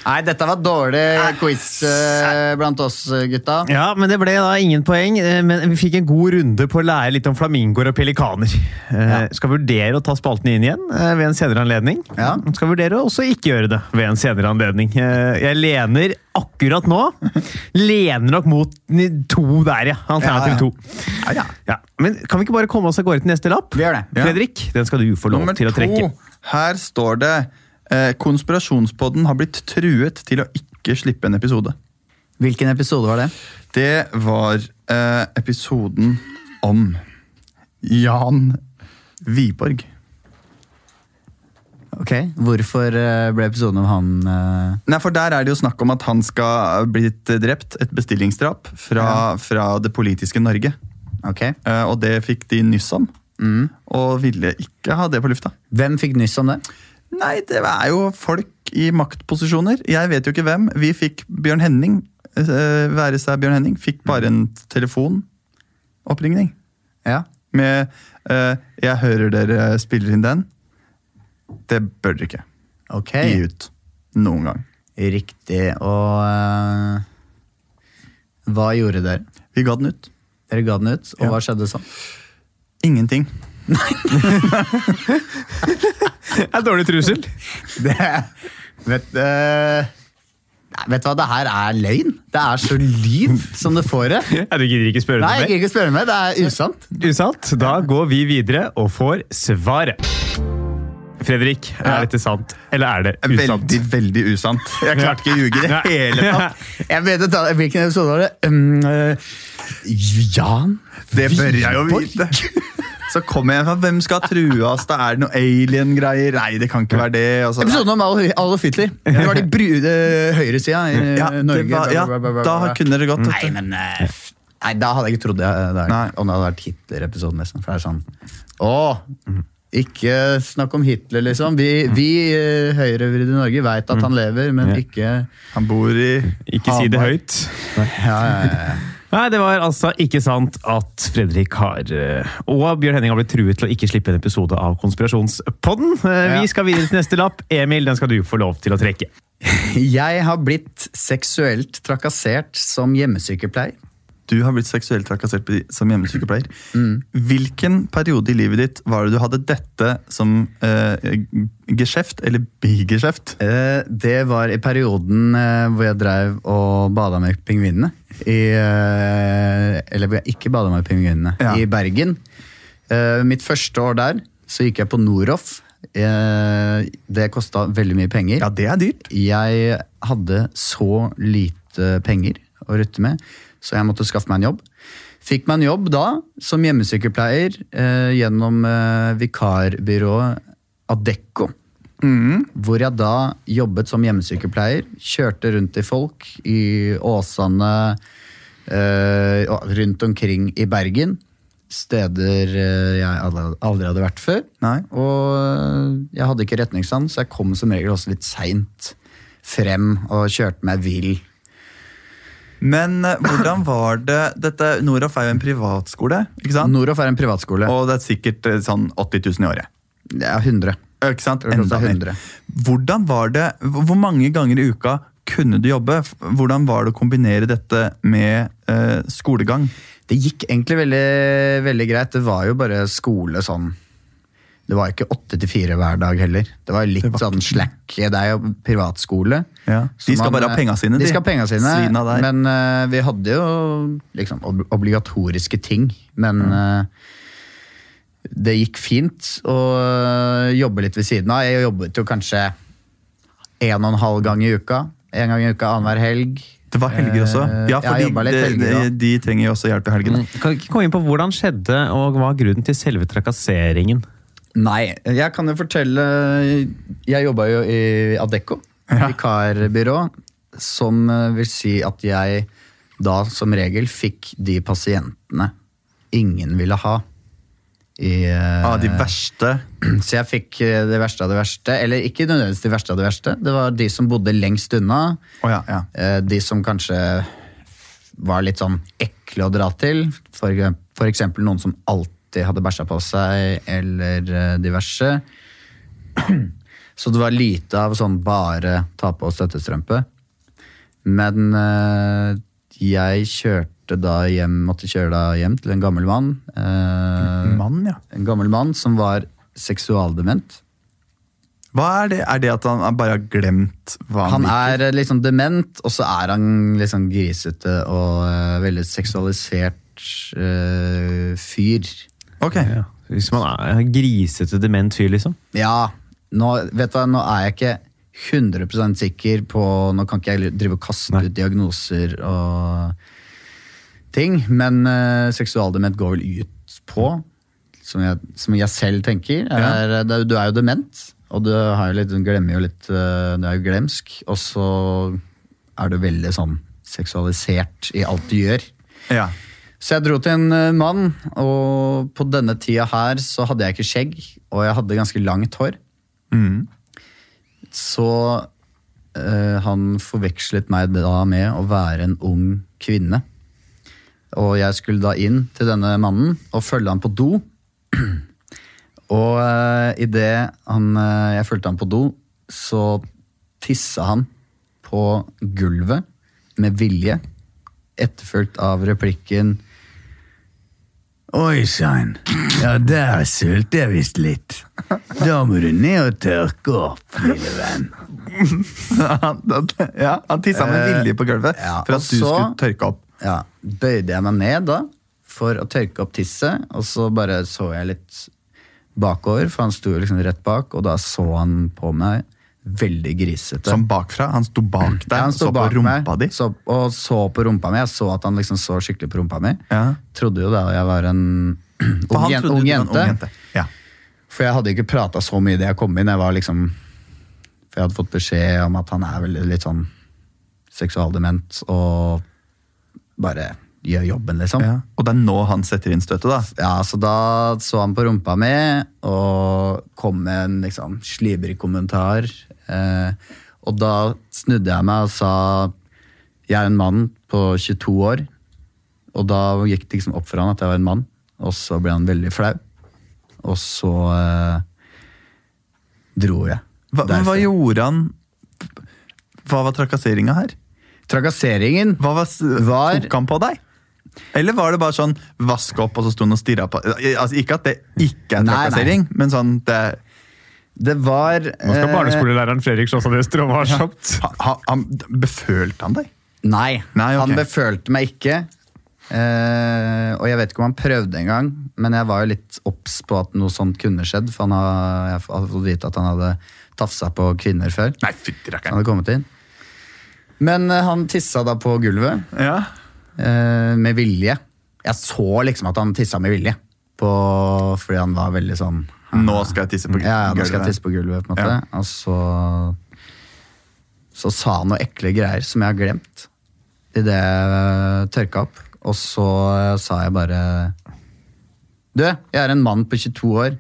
[SPEAKER 3] Nei, dette var dårlig quiz eh, blant oss, gutta.
[SPEAKER 2] Ja, men det ble da ingen poeng. eh, Men vi fikk en god runde på å lære litt om flamingoer og pelikaner. Eh, Skal vurdere å ta spalten inn igjen eh, ved en senere anledning.
[SPEAKER 3] Ja.
[SPEAKER 2] Skal vurdere å også ikke gjøre det ved en senere anledning. Eh, Jeg lener akkurat nå Lener nok mot ni- to der, ja. Alternativ to.
[SPEAKER 1] Ja, ja.
[SPEAKER 2] Ja, men kan vi ikke bare komme oss av gårde til neste lapp?
[SPEAKER 3] Vi gjør det.
[SPEAKER 1] Ja.
[SPEAKER 2] Fredrik, den skal du få lov
[SPEAKER 1] Nummer
[SPEAKER 2] til å trekke.
[SPEAKER 1] to. Her står det eh, konspirasjonspodden har blitt truet til å ikke slippe en episode.
[SPEAKER 3] Hvilken episode var det?
[SPEAKER 1] Det var eh, episoden om Jan Wiborg.
[SPEAKER 3] Ok, Hvorfor eh, ble episoden om han eh,
[SPEAKER 1] Nei, for Der er det jo snakk om at han skal blitt drept. Et bestillingsdrap fra, fra det politiske Norge.
[SPEAKER 3] Ok.
[SPEAKER 1] Eh, og det fikk de nyss om. Og ville ikke ha det på lufta.
[SPEAKER 3] Hvem fikk nyss om det?
[SPEAKER 1] Nei, det er jo folk i maktposisjoner. Jeg vet jo ikke hvem. Vi fikk Bjørn Henning. eh, være seg Bjørn Henning. Fikk bare en telefonoppringning.
[SPEAKER 3] Ja.
[SPEAKER 1] Med eh, 'Jeg hører dere spiller inn den'. Det bør dere ikke.
[SPEAKER 3] Ok,
[SPEAKER 1] gi ut. Noen gang.
[SPEAKER 3] riktig. Og eh, hva gjorde dere?
[SPEAKER 1] Vi ga den ut.
[SPEAKER 3] Dere ga den ut, og
[SPEAKER 1] Ja.
[SPEAKER 3] hva skjedde sånn?
[SPEAKER 1] Ingenting.
[SPEAKER 2] Det er dårlig trussel.
[SPEAKER 3] Det, vet, eh, nei, vet du hva, det her er løgn. Det er så lyv som det får det.
[SPEAKER 2] Ja, du gidder ikke spørre
[SPEAKER 3] Nei,
[SPEAKER 2] noe
[SPEAKER 3] jeg
[SPEAKER 2] mer?
[SPEAKER 3] gidder ikke spørre meg, det er usant.
[SPEAKER 2] Usant. Da går vi videre og får svaret. Fredrik,
[SPEAKER 3] Ja.
[SPEAKER 2] er dette sant, eller er det usant?
[SPEAKER 1] Veldig, veldig usant. Jeg klarte ikke å ljuge i det
[SPEAKER 2] Nei.
[SPEAKER 1] hele tatt.
[SPEAKER 3] Jeg begynte å ta, Hvilken episode var det? Um, eh, Jan?
[SPEAKER 1] Det bør jeg jo
[SPEAKER 3] Wiborg?
[SPEAKER 1] vite. Så kommer jeg fra Hvem skal trues? Da er det noe alien-greier. Nei, det kan ikke være det. Altså, Og så-
[SPEAKER 3] Episoden om Al- Adolf Hitler. Det var de brude høyresida i eh,
[SPEAKER 1] ja, det
[SPEAKER 3] Norge.
[SPEAKER 1] var, ja,
[SPEAKER 3] bla, bla, bla, bla,
[SPEAKER 1] da
[SPEAKER 3] bla.
[SPEAKER 1] kunne det gått.
[SPEAKER 3] Nei, men eh, f- Nei, da hadde jeg ikke trodd det. eh, der.
[SPEAKER 1] Nei.
[SPEAKER 3] Om det hadde vært Hitler-episoden, liksom. For det er sånn Å! Ikke snakk om Hitler, liksom. Vi, vi eh, høyrevridde i Norge veit
[SPEAKER 1] Mm.
[SPEAKER 3] at han lever, men ikke
[SPEAKER 1] Han bor i
[SPEAKER 2] Ikke si det
[SPEAKER 1] Hamar.
[SPEAKER 2] høyt.
[SPEAKER 3] ja, ja, ja.
[SPEAKER 2] Nei, det var altså ikke sant at Fredrik har eh, og Bjørn Henning har blitt truet til å ikke slippe en episode av Konspirasjonspodden. Eh,
[SPEAKER 1] Ja.
[SPEAKER 2] Vi skal videre til neste lapp. Emil, den skal du få lov til å trekke.
[SPEAKER 3] Jeg har blitt seksuelt trakassert som hjemmesykepleier.
[SPEAKER 1] Du har blitt seksuelt trakassert på- som hjemmesykepleier. Hvilken periode i livet ditt var det du hadde dette som eh, geskjeft, eller bigeskjeft?
[SPEAKER 3] Eh, Det var i perioden eh, hvor jeg drev og bada med pingvinene. I, eh, eller hvor jeg ikke bada med pingvinene,
[SPEAKER 1] Ja.
[SPEAKER 3] i Bergen. Eh, Mitt første år der så gikk jeg på Noroff. Eh, Det kosta veldig mye penger.
[SPEAKER 1] Ja, det er dyrt.
[SPEAKER 3] Jeg hadde så lite penger å rutte med, så jeg måtte skaffe meg en jobb. Fikk meg en jobb da som hjemmesykepleier eh, gjennom eh, vikarbyrået Adecco. Hvor jeg da jobbet som hjemmesykepleier. Kjørte rundt til folk i Åsane, eh, og rundt omkring i Bergen. Steder eh, jeg aldri- aldri hadde vært før.
[SPEAKER 1] Nei.
[SPEAKER 3] Og eh, jeg hadde ikke retningssans, så jeg kom som regel også litt seint frem og kjørte meg vill.
[SPEAKER 1] Men eh, hvordan var det Dette Noroff er jo en privatskole, ikke sant?
[SPEAKER 3] Noroff er en privatskole.
[SPEAKER 1] Og det er sikkert eh, sånn 80 000 i året.
[SPEAKER 3] Det er 100.
[SPEAKER 1] Ikke sant?
[SPEAKER 3] Det er
[SPEAKER 1] Enda
[SPEAKER 3] klart det er
[SPEAKER 1] mer. Hvordan var det, Hvor mange ganger i uka kunne du jobbe? Hvordan var det å kombinere dette med eh, skolegang?
[SPEAKER 3] Det gikk egentlig veldig, veldig greit. Det var jo bare skole sånn Det var ikke åtte til fire hver dag heller. Det var litt
[SPEAKER 1] Det var
[SPEAKER 3] sånn slack. Det er jo privatskole.
[SPEAKER 1] Ja,
[SPEAKER 3] Så
[SPEAKER 1] de skal bare ha penga sine,
[SPEAKER 3] De
[SPEAKER 1] de.
[SPEAKER 3] skal ha penga sine,
[SPEAKER 1] Svina der.
[SPEAKER 3] men eh, vi hadde jo liksom ob obligatoriske ting. Men eh, det gikk fint å eh, jobbe litt ved siden av. Jeg jobbet jo kanskje en og en halv gang i uka. En gang i uka annenhver helg.
[SPEAKER 1] Det var helger også.
[SPEAKER 3] Eh,
[SPEAKER 1] Ja,
[SPEAKER 3] jeg
[SPEAKER 1] for de,
[SPEAKER 3] jobbet litt
[SPEAKER 1] de,
[SPEAKER 3] helger Mm.
[SPEAKER 1] de,
[SPEAKER 3] også.
[SPEAKER 1] de trenger jo også hjelp i helgene.
[SPEAKER 2] Kan ikke komme inn på hvordan skjedde, og hva er grunnen til selve trakasseringen?
[SPEAKER 3] Nei, jeg kan jo fortelle Jeg jobba jo i Adecco, vikarbyrå, som eh, vil si at jeg da som regel fikk de pasientene ingen ville ha. I, eh,
[SPEAKER 1] Av Ah, de verste
[SPEAKER 3] så jeg fikk eh, det verste av det verste. Eller ikke nødvendigvis de verste av det verste. Det var de som bodde lengst unna.
[SPEAKER 1] Å ja, ja.
[SPEAKER 3] Eh, De som kanskje var litt sånn ekle å dra til. For, ekse- for eksempel noen som alltid hadde bæsja på seg, eller eh, diverse. Så det var lite av sånn bare ta på støttestrømpe. Men eh, jeg kjørte da hjem, måtte kjøre da hjem til en gammel mann. eh,
[SPEAKER 1] Mann, ja.
[SPEAKER 3] en gammel mann som var seksualdement.
[SPEAKER 1] Hva er det? Er det at han bare har glemt hva han,
[SPEAKER 3] Han er litt sånn dement, og så er han litt sånn grisete og eh, veldig seksualisert eh, fyr.
[SPEAKER 1] Ok,
[SPEAKER 2] Hvis man er en grisete dement fyr, liksom.
[SPEAKER 3] Ja, nå, vet du hva, nå er jeg ikke 100 sikker på Nå kan ikke jeg drive og kaste ut diagnoser og ting, men eh, seksualdement går vel ut på, som jeg, som jeg selv tenker, er, eh, det er- Du er jo dement, og du, har jo litt, du glemmer jo litt eh, Du er jo glemsk, og så er du veldig sånn seksualisert i alt du gjør.
[SPEAKER 1] ja.
[SPEAKER 3] Så jeg dro til en eh, mann, og på denne tida her så hadde jeg ikke skjegg, og jeg hadde ganske langt hår.
[SPEAKER 1] Mm.
[SPEAKER 3] Så eh, han forvekslet meg da med å være en ung kvinne. Og jeg skulle da inn til denne mannen og følge han på do. Og uh, idet han, eh, jeg fulgte han på do, så tissa han på gulvet med vilje, etterfulgt av replikken Oi sann, ja der sølte jeg visst litt. Da må du ned og tørke opp, lille venn.
[SPEAKER 1] ja, han tissa med
[SPEAKER 3] Eh,
[SPEAKER 1] vilje på gulvet
[SPEAKER 3] ja,
[SPEAKER 1] for
[SPEAKER 3] og
[SPEAKER 1] at du
[SPEAKER 3] så-
[SPEAKER 1] skulle tørke opp.
[SPEAKER 3] Ja, bøyde jeg meg ned da for å tørke opp tisset, og så bare så jeg litt bakover, for han sto jo liksom rett bak, og da så han på meg veldig grisete.
[SPEAKER 1] Som bakfra. Han sto bak deg
[SPEAKER 3] Ja, Mm. han
[SPEAKER 1] og
[SPEAKER 3] sto
[SPEAKER 1] så på
[SPEAKER 3] bak
[SPEAKER 1] rumpa
[SPEAKER 3] meg,
[SPEAKER 1] di.
[SPEAKER 3] Så, og så på rumpa mi. Jeg så at han liksom så skikkelig på rumpa mi.
[SPEAKER 1] Ja.
[SPEAKER 3] Trodde jo da jeg var en
[SPEAKER 1] For
[SPEAKER 3] ung,
[SPEAKER 1] han
[SPEAKER 3] jen,
[SPEAKER 1] trodde
[SPEAKER 3] ung
[SPEAKER 1] du var en
[SPEAKER 3] jente.
[SPEAKER 1] ung jente. Ja.
[SPEAKER 3] For jeg hadde ikke prata så mye da jeg kom inn. Jeg var liksom For jeg hadde fått beskjed om at han er vel litt sånn seksualdement og bare gjør jobben, liksom.
[SPEAKER 1] Ja. Og det er nå han setter inn støtet, da.
[SPEAKER 3] Ja, så da så han på rumpa mi og kom med en liksom, slibrig kommentar. Eh, og da snudde jeg meg og sa jeg er en mann på 22 år. Og da gikk det liksom opp for han at jeg var en mann, og så ble han veldig flau. Og så eh, dro jeg.
[SPEAKER 1] Hva, men hva
[SPEAKER 3] derfra.
[SPEAKER 1] gjorde han Hva var trakasseringa her?
[SPEAKER 3] Trakasseringen
[SPEAKER 1] Hva var, s-
[SPEAKER 3] Var-
[SPEAKER 1] Tok han på deg? Eller var det bare sånn vask opp, og så sto han og stirra på altså, Ikke at det ikke er
[SPEAKER 3] Nei, nei.
[SPEAKER 1] trakassering, men sånn det,
[SPEAKER 3] Det var
[SPEAKER 2] Nå skal
[SPEAKER 3] eh,
[SPEAKER 2] barneskolelæreren Fredrik sånn slå seg ned stråvarsomt.
[SPEAKER 1] ha, ha, han, Befølte han deg?
[SPEAKER 3] Nei,
[SPEAKER 1] Nei, ok.
[SPEAKER 3] han befølte meg ikke. Eh, og jeg vet ikke om han prøvde engang, men jeg var jo litt obs på at noe sånt kunne skjedd. For han har, jeg hadde fått vite at han hadde tafsa på kvinner før.
[SPEAKER 1] Nei, fytti
[SPEAKER 3] Han
[SPEAKER 1] rakkeren.
[SPEAKER 3] hadde kommet inn. Men eh, han tissa da på gulvet
[SPEAKER 1] Ja.
[SPEAKER 3] eh, med vilje. Jeg så liksom at han tissa med vilje, på, fordi han var veldig sånn
[SPEAKER 1] Nå skal jeg tisse på
[SPEAKER 3] ja, ja, nå skal
[SPEAKER 1] gulvet.
[SPEAKER 3] jeg tisse på gulvet, på en måte. Og så, så sa han noen ekle greier som jeg har glemt idet jeg tørka opp. Og så sa jeg bare Du, jeg er en mann på 22 år,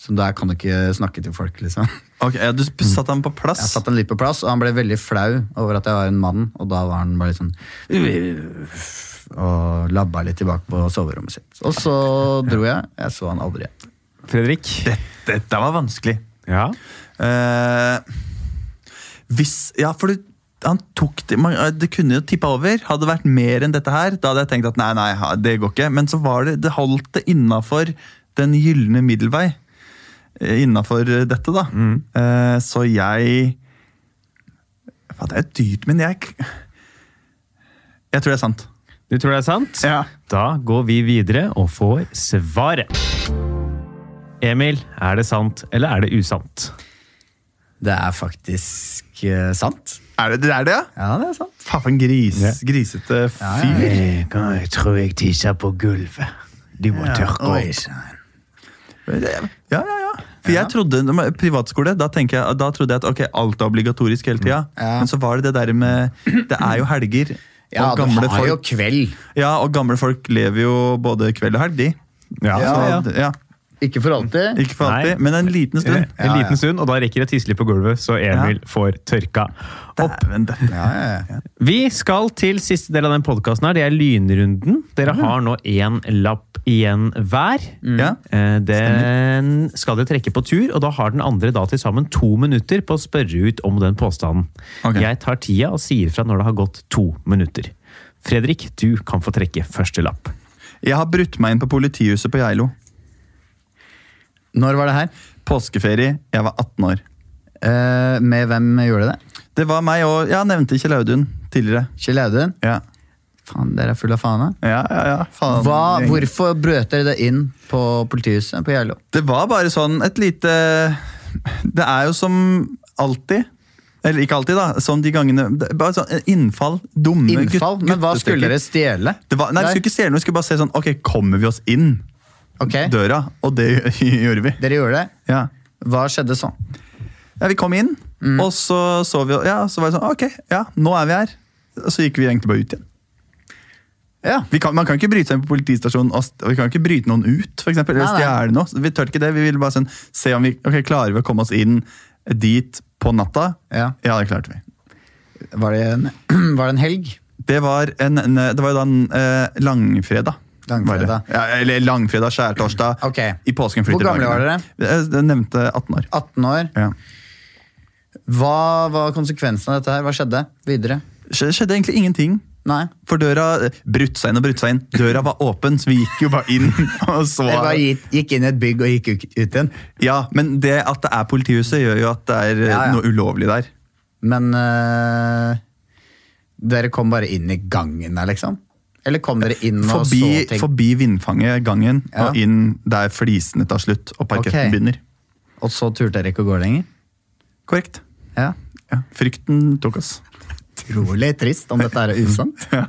[SPEAKER 3] så der kan du ikke snakke til folk, liksom.
[SPEAKER 1] Ok, ja, Du satte han på plass?
[SPEAKER 3] Jeg satte han litt på plass, og han ble veldig flau over at jeg var en mann, og da var han bare litt sånn Og labba litt tilbake på soverommet sitt. Og så dro jeg. Jeg så han aldri igjen.
[SPEAKER 2] Fredrik?
[SPEAKER 1] Dette var vanskelig.
[SPEAKER 2] Ja.
[SPEAKER 1] Eh, hvis Ja, for du han tok det, man, eh, det kunne jo tippa over. Hadde det vært mer enn dette her, da hadde jeg tenkt at nei, nei, ha- det går ikke. Men så var det, det holdt det innafor den gylne middelvei. eh, Innafor dette, da. Eh, så jeg ja, Det er dyrt, men jeg Jeg tror det er sant.
[SPEAKER 2] Du tror det er sant?
[SPEAKER 1] Ja.
[SPEAKER 2] Da går vi videre og får svaret. Emil, er det sant eller er det usant?
[SPEAKER 3] Det er faktisk eh, sant.
[SPEAKER 1] Er det det, er det ja?
[SPEAKER 3] Ja, det er sant.
[SPEAKER 1] Faen, for en gris, grisete fyr.
[SPEAKER 3] Jeg tror jeg tisser på gulvet. Du må tørke opp.
[SPEAKER 1] Ja, ja, ja. For jeg trodde, når man- Privatskole, da, tenker jeg, da trodde jeg at ok, alt er obligatorisk hele tida.
[SPEAKER 3] Mm. Ja.
[SPEAKER 1] Men så var det det der med Det er jo helger.
[SPEAKER 3] Ja,
[SPEAKER 1] og
[SPEAKER 3] du
[SPEAKER 1] gamle
[SPEAKER 3] har jo
[SPEAKER 1] folk,
[SPEAKER 3] kveld.
[SPEAKER 1] ja, og gamle folk lever jo både kveld og helg, de.
[SPEAKER 3] Ja,
[SPEAKER 1] Så,
[SPEAKER 3] ja.
[SPEAKER 1] ja,
[SPEAKER 3] Ikke for alltid.
[SPEAKER 1] ikke for alltid,
[SPEAKER 2] Nei.
[SPEAKER 1] men en liten stund.
[SPEAKER 2] En liten stund, og da rekker jeg tisselig på gulvet, så Emil får tørka opp.
[SPEAKER 1] Dæven, dette.
[SPEAKER 3] Ja, ja, ja.
[SPEAKER 2] Vi skal til siste del av den podkasten her. Det er lynrunden. Dere har nå én lapp igjen hver.
[SPEAKER 1] Ja.
[SPEAKER 2] Eh, Den skal dere trekke på tur, og da har den andre da til sammen to minutter på å spørre ut om den påstanden.
[SPEAKER 1] Ok.
[SPEAKER 2] Jeg tar tida og sier fra når det har gått to minutter. Fredrik, du kan få trekke første lapp.
[SPEAKER 1] Jeg har brutt meg inn på politihuset på Geilo.
[SPEAKER 3] Når var det her?
[SPEAKER 1] Påskeferie. Jeg var 18 år.
[SPEAKER 3] Eh, med hvem gjorde det?
[SPEAKER 1] Det var meg og Jeg nevnte Kjell Audun tidligere.
[SPEAKER 3] Kjell Audun?
[SPEAKER 1] Ja,
[SPEAKER 3] Faen, dere er fulle av faen. da.
[SPEAKER 1] ja, ja. ja. Faen.
[SPEAKER 3] Hva, hvorfor brøt dere det inn på politihuset på Geilo?
[SPEAKER 1] Det var bare sånn et lite Det er jo som alltid. Eller ikke alltid, da. Som de gangene det- Bare sånn Innfall. Dumme gutt-
[SPEAKER 3] Innfall? Men hva skulle
[SPEAKER 1] guttestykker.
[SPEAKER 3] dere stjele?
[SPEAKER 1] Det var, nei, Vi skulle ikke stjele noe, vi skulle bare se sånn Ok, kommer vi oss inn
[SPEAKER 3] Ok,
[SPEAKER 1] døra? Og det gjorde vi.
[SPEAKER 3] Dere gjorde det.
[SPEAKER 1] Ja,
[SPEAKER 3] Hva skjedde så?
[SPEAKER 1] ja Vi kom inn,
[SPEAKER 3] Mm.
[SPEAKER 1] og så så vi Ja, så var det sånn Ok, ja, nå er vi her. Og så gikk vi egentlig bare ut igjen.
[SPEAKER 3] Ja.
[SPEAKER 1] Vi kan, man kan ikke bryte seg inn på politistasjonen og, st- og vi kan ikke bryte noen ut. For eksempel, eller
[SPEAKER 3] Nei, nei.
[SPEAKER 1] stjele noe. Så Vi tør ikke det. Vi ville bare sånn, se om vi ok, klarer vi å komme oss inn dit på natta.
[SPEAKER 3] Ja.
[SPEAKER 1] det klarte vi.
[SPEAKER 3] Var det en, var det en helg?
[SPEAKER 1] Det var, en, en, det var jo da en eh, langfredag.
[SPEAKER 3] Langfredag.
[SPEAKER 1] var det. Ja, eller langfredag, skjærtorsdag.
[SPEAKER 3] Ok.
[SPEAKER 1] I påsken Eh, flytter
[SPEAKER 3] Hvor gamle
[SPEAKER 1] dagene. Jeg nevnte 18 år.
[SPEAKER 3] 18 år?
[SPEAKER 1] Ja.
[SPEAKER 3] Hva var konsekvensen av dette her? Hva skjedde videre?
[SPEAKER 1] Det skjedde egentlig ingenting.
[SPEAKER 3] Nei.
[SPEAKER 1] For døra eh, brutt seg inn og brutt seg inn. Døra var åpen, så vi gikk jo bare inn og så.
[SPEAKER 3] Dere bare gikk, gikk inn i et bygg og gikk ut ut igjen.
[SPEAKER 1] Ja, Men det at det er politihuset, gjør jo at det er eh,
[SPEAKER 3] Ja, ja.
[SPEAKER 1] noe ulovlig der.
[SPEAKER 3] Men eh, dere kom bare inn i gangen der, liksom? Eller kom dere inn og
[SPEAKER 1] Forbi,
[SPEAKER 3] så ting?
[SPEAKER 1] forbi vindfanget gangen
[SPEAKER 3] Ja.
[SPEAKER 1] og inn der flisene tar slutt og parketten
[SPEAKER 3] Ok.
[SPEAKER 1] begynner.
[SPEAKER 3] Og så turte dere ikke å gå lenger?
[SPEAKER 1] Korrekt.
[SPEAKER 3] Ja.
[SPEAKER 1] Ja. Frykten tok oss.
[SPEAKER 3] Utrolig trist om dette er usant.
[SPEAKER 1] Ja.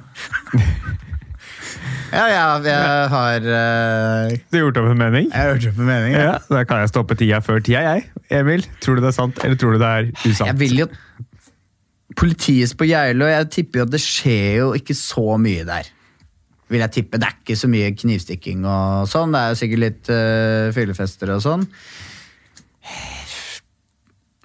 [SPEAKER 3] Ja, ja, jeg har eh,
[SPEAKER 2] Du har gjort opp en mening?
[SPEAKER 3] Jeg har hørt på meningen.
[SPEAKER 2] Ja, Da kan jeg stoppe tida før tida, jeg. Emil, tror du det er sant, eller tror du det er usant?
[SPEAKER 3] Jeg vil jo Politiet på Geilo, jeg tipper jo at det skjer jo ikke så mye der. Vil jeg tippe. Det er ikke så mye knivstikking og sånn. Det er jo sikkert litt øh, fyllefester og sånn.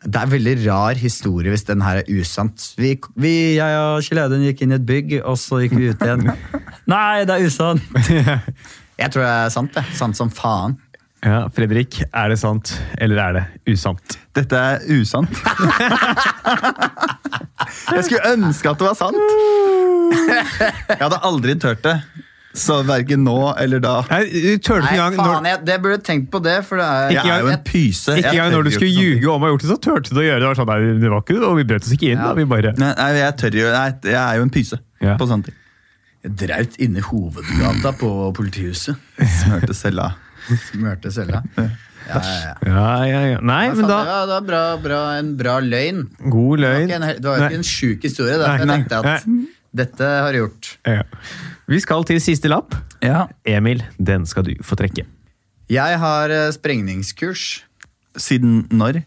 [SPEAKER 3] Det er en veldig rar historie hvis den her er usant. Vi, vi jeg og Kjell Audun gikk inn i et bygg, og så gikk vi ut igjen. Nei, det er usant! Jeg tror det er sant, det. Sant som faen.
[SPEAKER 2] Ja, Fredrik, er det sant, eller er det usant?
[SPEAKER 1] Dette er usant. Jeg skulle ønske at det var sant. Jeg hadde aldri tørt det. Så verken nå eller da.
[SPEAKER 2] Nei, du tør ikke
[SPEAKER 3] Nei,
[SPEAKER 2] engang
[SPEAKER 3] faen,
[SPEAKER 2] når,
[SPEAKER 3] jeg, det burde jeg tenkt på det, for det er
[SPEAKER 1] Jeg er jo en pyse.
[SPEAKER 2] ikke
[SPEAKER 1] Jeg
[SPEAKER 2] engang når du
[SPEAKER 1] tør jo
[SPEAKER 2] skulle
[SPEAKER 1] ikke sånne ting.
[SPEAKER 2] ljuge om å ha gjort det, så turte du å gjøre det. det. var sånn, nei, det var ikke, det, og vi brøt oss ikke inn. da, vi bare...
[SPEAKER 1] Nei, nei, jeg tør jo Nei, jeg er jo en pyse
[SPEAKER 2] Ja.
[SPEAKER 1] på sånne ting.
[SPEAKER 3] Jeg draut inne i hovedgata på politihuset.
[SPEAKER 1] Smørte cella.
[SPEAKER 3] Smørte cella. Ja, ja, ja. sånn,
[SPEAKER 2] Ja, ja, ja. Nei,
[SPEAKER 3] Men
[SPEAKER 2] men
[SPEAKER 3] faen,
[SPEAKER 2] da
[SPEAKER 3] det var, det var bra, bra, en bra løgn.
[SPEAKER 2] God
[SPEAKER 3] Det var
[SPEAKER 2] løgn.
[SPEAKER 3] ikke en, hel- det var jo
[SPEAKER 2] Nei.
[SPEAKER 3] ikke en sjuk historie. Derfor
[SPEAKER 2] Nei, nei,
[SPEAKER 3] jeg tenkte at dette har jeg gjort.
[SPEAKER 2] Ja. Vi skal til siste lapp.
[SPEAKER 1] Ja.
[SPEAKER 2] Emil, den skal du få trekke.
[SPEAKER 3] Jeg har eh, sprengningskurs.
[SPEAKER 1] Siden når?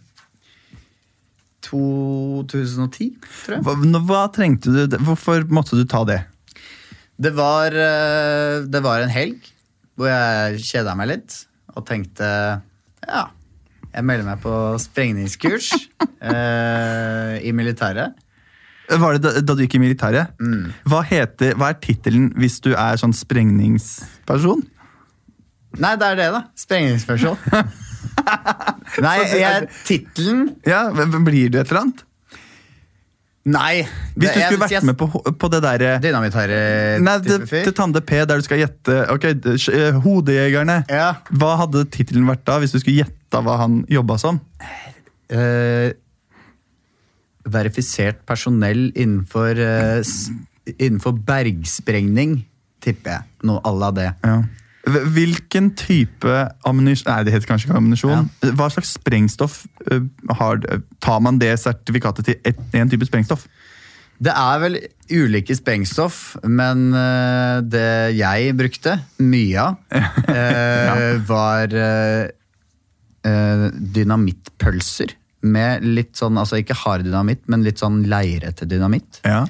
[SPEAKER 3] 2010, tror jeg.
[SPEAKER 1] Hva, nå- hva trengte du Hvorfor måtte du ta det?
[SPEAKER 3] Det var, eh, det var en helg hvor jeg kjeda meg litt og tenkte ja, jeg melder meg på sprengningskurs eh, i militæret.
[SPEAKER 1] Var det da, da du gikk i militæret?
[SPEAKER 3] Mm.
[SPEAKER 1] Hva, heter, hva er tittelen hvis du er sånn sprengningsperson?
[SPEAKER 3] Nei, det er det, da. Sprengningsspørsmål. Nei, jeg, tittelen
[SPEAKER 1] Ja, hva- hva Blir du et eller annet?
[SPEAKER 3] Nei.
[SPEAKER 1] Hvis du skulle vært med på, på det derre Nei, det,
[SPEAKER 3] Dynamitherre-type
[SPEAKER 1] til
[SPEAKER 3] fyr.
[SPEAKER 1] Tande P, der du skal gjette Ok, d- sj- eh, Hodejegerne.
[SPEAKER 3] Ja.
[SPEAKER 1] Hva hadde tittelen vært da, hvis du skulle gjette hva han jobba som?
[SPEAKER 3] Eh, verifisert personell innenfor, eh, s- innenfor bergsprengning, tipper jeg. Noe à la det.
[SPEAKER 1] Ja. Hv- Hvilken type ammunisjon Nei, det heter kanskje ikke ammunisjon. Hva slags sprengstoff eh, har Tar man det sertifikatet til én type sprengstoff?
[SPEAKER 3] Det er vel ulike sprengstoff, men eh, det jeg brukte mye av, eh, var eh, eh, dynamittpølser. Med litt sånn, altså ikke hard dynamitt, men litt sånn leirete dynamitt.
[SPEAKER 1] Ja.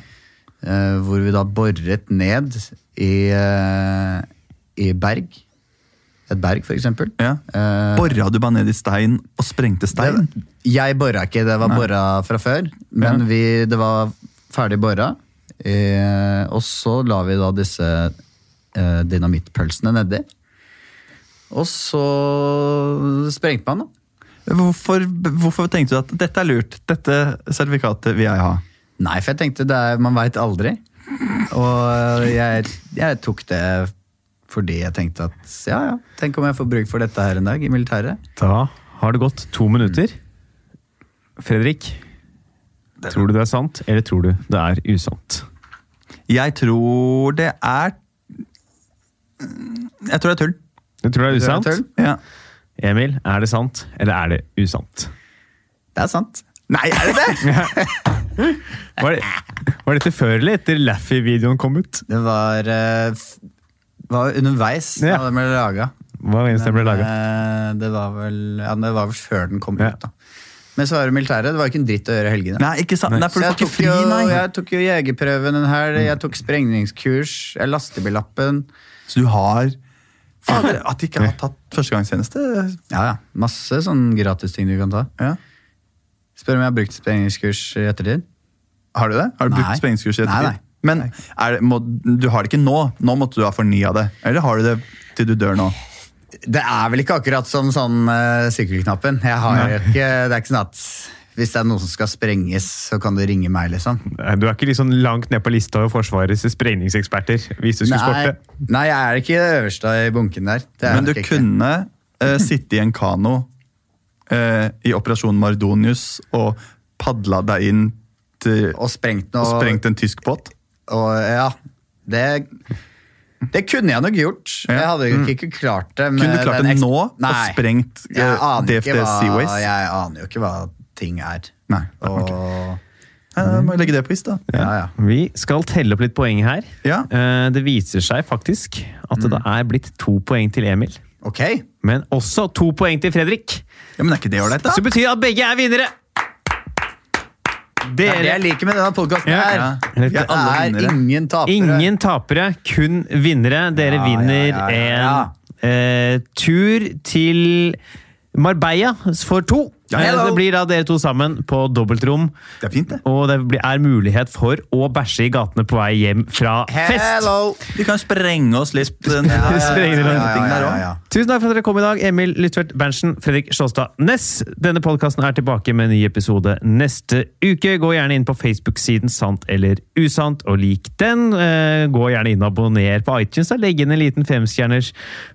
[SPEAKER 3] eh, hvor vi da boret ned i, eh, i berg. Et berg, for eksempel.
[SPEAKER 1] ja.
[SPEAKER 3] Eh,
[SPEAKER 1] Bora du bare ned i stein og sprengte stein?
[SPEAKER 3] det, jeg bora ikke, det var bora fra før. Men
[SPEAKER 1] Ja.
[SPEAKER 3] vi, det var ferdig bora. Eh, og så la vi da disse eh, dynamittpølsene nedi. Og så sprengte man, da.
[SPEAKER 1] Hvorfor, hvorfor tenkte du at dette er lurt? Dette Eh, sertifikatet vil jeg ha.
[SPEAKER 3] Nei, for jeg tenkte det er, man veit aldri. Og jeg, jeg tok det fordi jeg tenkte at ja, ja, tenk om jeg får bruk for dette her en dag i militæret.
[SPEAKER 2] Da har det gått to minutter. Fredrik, tror du det er sant, eller tror du det er usant?
[SPEAKER 1] Jeg tror det er Jeg tror det er tull.
[SPEAKER 2] Du tror det er
[SPEAKER 3] det er
[SPEAKER 2] usant?
[SPEAKER 3] tull?
[SPEAKER 1] Ja.
[SPEAKER 2] Emil, er det sant, eller er det usant?
[SPEAKER 3] Det er sant.
[SPEAKER 1] Nei, er det det?!
[SPEAKER 2] Var, det, var dette før eller etter Laffy-videoen kom ut?
[SPEAKER 3] Det var, eh, f- var underveis da
[SPEAKER 2] Ja.
[SPEAKER 3] den ble laga.
[SPEAKER 2] Hva eneste den ble laget?
[SPEAKER 3] det, var vel- ja, det var vel før den kom
[SPEAKER 2] Ja.
[SPEAKER 3] ut, da. Men så var det militæret. Det var ikke en dritt å gjøre i helgene.
[SPEAKER 1] Nei, ikke sant. Nei,
[SPEAKER 3] Så
[SPEAKER 1] for du
[SPEAKER 3] jeg
[SPEAKER 1] får ikke
[SPEAKER 3] tok,
[SPEAKER 1] fri,
[SPEAKER 3] jo,
[SPEAKER 1] nei.
[SPEAKER 3] jeg tok jo jegerprøven en
[SPEAKER 2] Mm.
[SPEAKER 3] helg, jeg tok sprengningskurs, jeg lastebillappen.
[SPEAKER 1] Så du har Fader, at de ikke har tatt førstegangstjeneste.
[SPEAKER 3] Ja, ja. Masse sånn gratisting du kan ta.
[SPEAKER 1] Ja.
[SPEAKER 3] Spør om jeg har brukt sprengningskurs i ettertid.
[SPEAKER 1] Har du det? Har du
[SPEAKER 3] Nei.
[SPEAKER 1] brukt sprengningskurs i
[SPEAKER 3] Nei, nei.
[SPEAKER 1] ettertid? Men er det, må, du har det ikke nå. Nå måtte du ha fornya det. Eller har du det til du dør nå?
[SPEAKER 3] Det er vel ikke akkurat som sånn eh, sykkelknappen. Jeg har jo ikke, det er ikke sånn at hvis det er noe som skal sprenges, så kan du ringe meg, liksom.
[SPEAKER 2] Du er ikke liksom langt ned på lista over Forsvarets sprengningseksperter. hvis du skulle
[SPEAKER 3] Nei,
[SPEAKER 2] sporte.
[SPEAKER 3] nei, jeg er ikke det øverste i bunken der. Det er
[SPEAKER 1] Men du
[SPEAKER 3] nok ikke.
[SPEAKER 1] kunne eh, sitte i en kano eh, i Operasjon Mardonius og padla deg inn til, og,
[SPEAKER 3] Og sprengt noe.
[SPEAKER 1] sprengt en tysk båt.
[SPEAKER 3] Og ja, det, det kunne jeg nok gjort.
[SPEAKER 1] Ja. Mm.
[SPEAKER 3] Jeg hadde jo ikke klart det. med
[SPEAKER 1] Kunne du klart
[SPEAKER 3] den
[SPEAKER 1] det
[SPEAKER 3] eks-
[SPEAKER 1] nå og
[SPEAKER 3] Nei.
[SPEAKER 1] sprengt eh,
[SPEAKER 3] Jeg aner ikke
[SPEAKER 1] DFD
[SPEAKER 3] hva-
[SPEAKER 1] Seaways?
[SPEAKER 3] Jeg aner jo ikke hva ting er.
[SPEAKER 1] Nei, nei,
[SPEAKER 3] Og,
[SPEAKER 1] Ja, da må jeg legge det på is, da.
[SPEAKER 3] ja, ja.
[SPEAKER 2] Vi skal telle opp litt poeng her.
[SPEAKER 1] Ja.
[SPEAKER 2] Eh, Det viser seg faktisk at
[SPEAKER 3] Mm.
[SPEAKER 2] det er blitt to poeng til Emil.
[SPEAKER 3] Ok.
[SPEAKER 2] Men også to poeng til Fredrik.
[SPEAKER 1] Ja, men er ikke det ålreit, da?
[SPEAKER 2] Som betyr at begge er vinnere!
[SPEAKER 3] Det er det jeg
[SPEAKER 2] Dere
[SPEAKER 3] liker med denne podkasten.
[SPEAKER 2] Ja,
[SPEAKER 3] her.
[SPEAKER 1] Ja.
[SPEAKER 2] Dette
[SPEAKER 1] Vi er alle
[SPEAKER 3] Det er
[SPEAKER 1] vinnere.
[SPEAKER 3] ingen tapere.
[SPEAKER 2] Ingen tapere, kun vinnere. Dere
[SPEAKER 3] Ja,
[SPEAKER 2] vinner
[SPEAKER 3] ja, ja, ja,
[SPEAKER 2] en eh, tur til Marbella for to.
[SPEAKER 1] Ja,
[SPEAKER 2] Eh,
[SPEAKER 1] hello.
[SPEAKER 2] det blir da dere to sammen på dobbeltrom.
[SPEAKER 1] Det er fint, det.
[SPEAKER 2] Og det blir- er mulighet for å bæsje i gatene på vei hjem fra fest.
[SPEAKER 3] Hello!
[SPEAKER 1] Vi kan sprenge oss litt. Den, ja,
[SPEAKER 2] Sprenge den
[SPEAKER 1] ting der også.
[SPEAKER 3] ja.
[SPEAKER 2] Tusen takk for at dere kom i dag, Emil Lytvedt Berntsen, Fredrik Sjåstad Næss. Denne podkasten er tilbake med en ny episode neste uke. Gå gjerne inn på Facebook-siden Sant eller usant, og lik den. Eh, Gå gjerne inn og abonner på iTunes. og Legg inn en liten femstjerners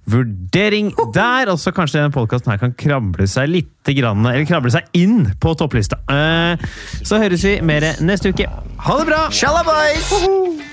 [SPEAKER 2] vurdering der. Og så kanskje denne podkasten her kan kramble seg litt, grann, eller kramble seg inn på topplista. Eh, Så høres vi mer neste uke. Ha det bra!
[SPEAKER 3] Shalla, boys!